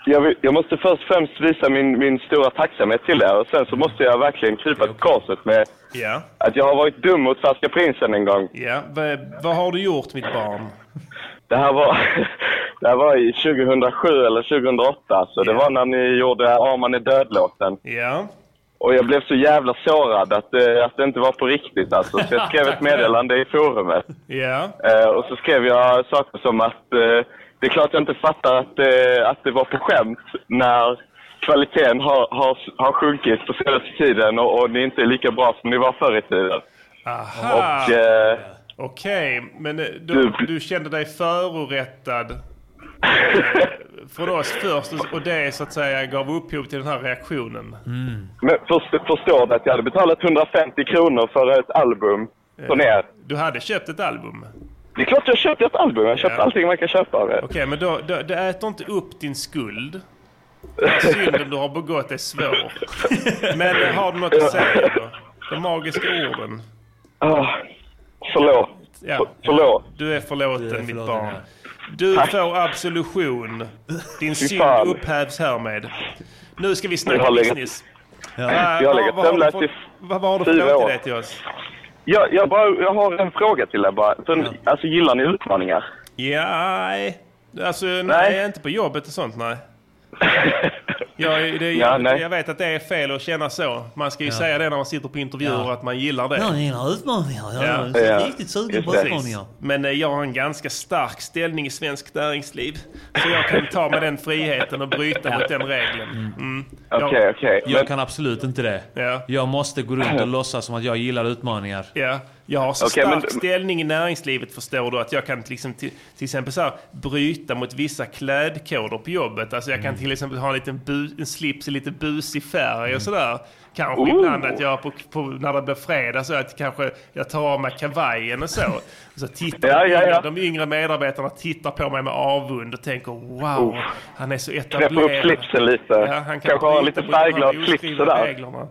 Jag, vill, jag måste först och främst visa min, min stora tacksamhet till er och sen så måste jag verkligen krypa till korset med Ja, att jag har varit dum mot Färska Prinsen en gång. ja. V- vad har du gjort mitt barn? Det här var, det här var i 2007 eller 2008, så det var när ni gjorde Arman är död-låten. Ja. Och jag blev så jävla sårad att, eh, att det inte var på riktigt alltså. Så jag skrev ett meddelande i forumet. Ja. Eh, och så skrev jag saker som att eh, det är klart jag inte fattar att, eh, att det var på skämt när kvaliteten har, har, har sjunkit på senaste tiden och, och ni inte är lika bra som ni var förr i tiden. Aha. Och, eh, Okej, men eh, du, du kände dig förorättad eh, från oss först och- och det så att säga gav upphov till den här reaktionen. Mm. Men först, förstår du att jag hade betalat 150 kronor för ett album från Eh, er? Du hade köpt ett album? Det är klart jag köpte ett album. Jag köpte Ja. allting man kan köpa av er. Okej, men då, då, det äter inte upp din skuld. Den här synden du har begått är svår. Men har du något att säga då? De magiska orden. Ah, förlåt. Ja. Förlåt. Du är förlåten, mitt barn. Du får absolution. Fy Din synd fan. upphävs härmed. Nu ska vi Jag snacka har legat- business. Ja. Jag Vad- har vad- legat vad har du sömnlös för- i typ Vad vad har du för fyra låt år. till dig till oss? Jag, jag, bara, jag har en fråga till er bara. Sen, Alltså, gillar ni utmaningar? Ja, nej. Alltså, nej, inte på jobbet och sånt, nej. Jag, det, Ja, jag, nej. jag vet att det är fel att känna så. Man ska ju Ja. säga det när man sitter på intervjuer Ja. att man gillar det. Jag gillar utmaningar. Jag är Ja. riktigt sugen Just på det. utmaningar. Men eh, jag har en ganska stark ställning i svenskt näringsliv. Så jag kan ta mig den friheten och bryta mot den regeln. Mm. Jag- Jag kan absolut inte det. Jag måste gå runt och låtsas som att jag gillar utmaningar. Ja, jag har så Okej, men stark du- ställning i näringslivet förstår du att jag kan till exempel, till, till exempel så här, bryta mot vissa klädkoder på jobbet. Alltså jag kan till exempel ha en liten bu, en slips i lite busig färg och sådär. Kanske Ooh. ibland att jag på, på, när det blir fredag så att kanske jag tar av mig kavajen och så. Och så tittar Ja, de, ja, yngre, ja. de yngre medarbetarna tittar på mig med avund och tänker wow, Oh. han är så Knäppa upp etablerad. slipsen lite. Ja, han kan Kanske ha bryta lite mot de här färgglad slips oskrivna sådär. reglerna.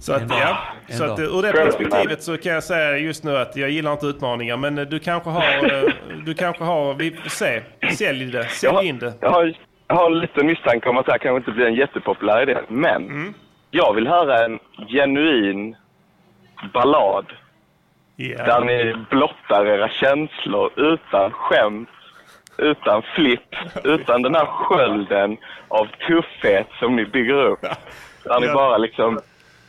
Så att, ja. En Så att, dag. eh, ur det Skönt. perspektivet så kan jag säga just nu att jag gillar inte utmaningar. Men eh, du kanske har... eh, Du kanske har... Vi får se. Sälj det. Jag har- Sälj in det. Jag har, jag har en liten misstanke om att det här kanske inte blir en jättepopulär idé, men jag vill höra en genuin ballad där ni blottar era känslor utan skämt, utan flipp, utan den här skölden av tuffhet som ni bygger upp. Där ni Ja. bara liksom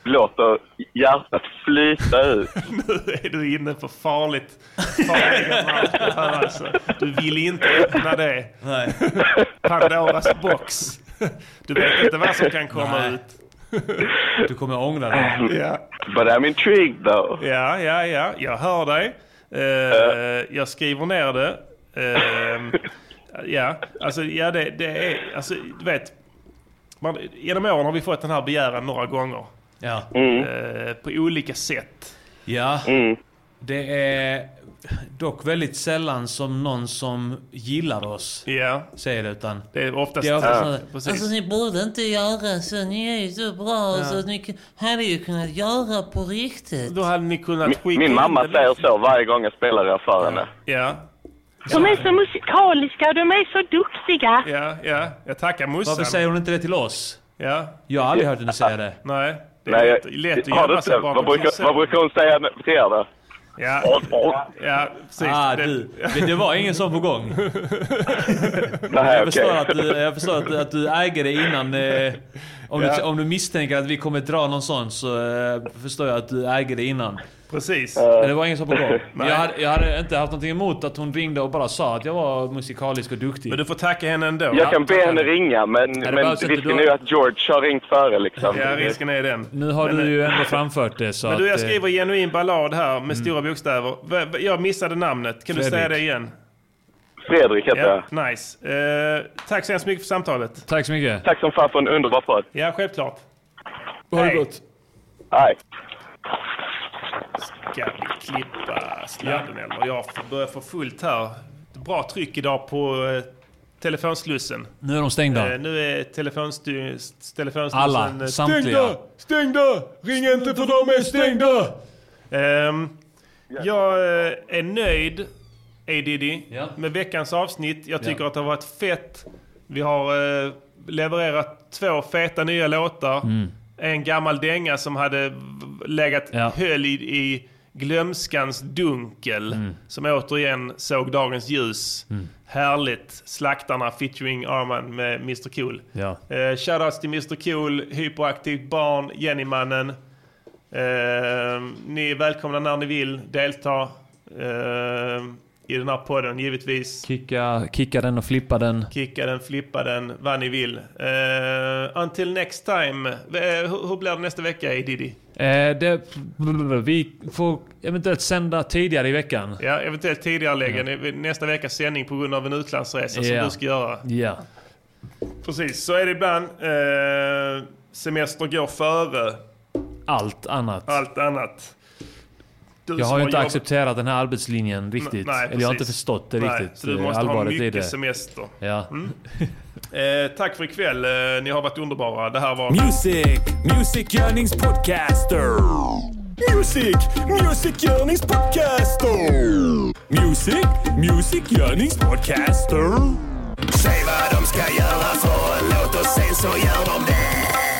låter hjärtat flyta ut. Nu är du inne på farligt, farliga marker här alltså. Du vill inte öppna det. Nej. Pandoras box. Du vet inte vad som kan komma Nej. ut. Du kommer ångra dig. Ja. But I'm intrigued though. Ja, ja, ja. Jag hör dig. Eh, Jag skriver ner det. Ehm, ja, alltså, ja det, det är... Alltså, du vet. Man, genom åren har vi fått den här begäran några gånger. Ja. Mm. Eh, på olika sätt. Ja. Det är dock väldigt sällan som någon som gillar oss säger det. Utan det är oftast... sådana- Alltså ni borde inte göra så, ni är ju så bra Ja. så att ni k- hade ju kunnat göra på riktigt. Då hade ni kunnat Min, min mamma säger så varje gång jag spelar det för henne. liksom. Ja. De är så musikaliska och de är så duktiga. Ja, ja. Jag tackar morsan. Varför säger hon inte det till oss? Ja. Jag har aldrig hört henne säga det. Nej. Det är Nej, lätt, jag- lätt att har du gömma sig inte? bakom Vad brukar, morsan. vad brukar hon säga till er då? Ja, ja, precis. Ah, du. Det, det var ingen sån på gång. okej. jag, förstår att du, jag förstår att, att du äger det innan. Eh, om, Ja. du, om du misstänker att vi kommer dra någon sån så eh, förstår jag att du äger det innan. Precis. Eh. Men det var ingen sån på gång. Men Nej. jag, hade, jag hade inte haft någonting emot att hon ringde och bara sa att jag var musikalisk och duktig. Men du får tacka henne ändå. Jag kan be henne ringa, men, det men behövs inte. risken Du är ju har- att George har ringt före liksom. Ja, risken är den. Nu har Men, du ju eh, ändå framfört det så Men du, jag att, eh, Mm. skriver genuin ballad här med stora bokstäver. V- v- Jag missade namnet. Kan du säga Fredrik. det igen? Fredrik heter jag. Nice. Eh, tack så hemskt mycket för samtalet. Tack så mycket. Tack som fan för en underbar podd. Ja, självklart. Ha det gott. Hej. Ska vi klippa sladden eller? Jag får- börjar få fullt här. Bra tryck idag på eh, telefonslussen. Nu är de stängda. Eh, nu är telefonstu- s- telefonslussen... Alla, eh, samtliga. Stängda! Stängda! Ring inte för de är stängda! Ehm, jag eh, är nöjd, A. Diddy, med veckans avsnitt. Jag tycker Ja. att det har varit fett. Vi har eh, levererat två feta nya låtar. Mm. En gammal dänga som hade v- legat Ja. höll i, i glömskans dunkel. Mm. Som återigen såg dagens ljus. Mm. Härligt. Slaktarna featuring Arman med Mr Cool. Ja. Eh, shoutouts till Mr Cool, Hyperaktivt Barn, Jennymannen. Eh, ni är välkomna när ni vill delta eh, i den här podden givetvis. Kicka, kicka den och flippa den. Kicka den, flippa den, vad ni vill. Eh, until next time. Eh, hur, hur blir det nästa vecka i Diddy? Eh, det, vi får eventuellt sända tidigare i veckan. Ja, eventuellt tidigare lägga nästa veckas sändning på grund av en utlandsresa Ja. som du ska göra. Ja. Precis, så är det ibland. Eh, semester går före Allt annat. allt annat. Du Jag som har ju inte jobbat- accepterat den här arbetslinjen riktigt. Nej, Eller jag har inte precis. förstått det Nej, riktigt. Så du eh, måste ha allvaret i mycket det. semester. Ja. Mm. Eh, tack för ikväll. Eh, ni har varit underbara. Det här var... Music, Music Yearnings Podcaster. Music, Music Yearnings Podcaster. Music, Music Yearnings Podcaster. Säg vad de ska göra för en låt och sen så gör de det.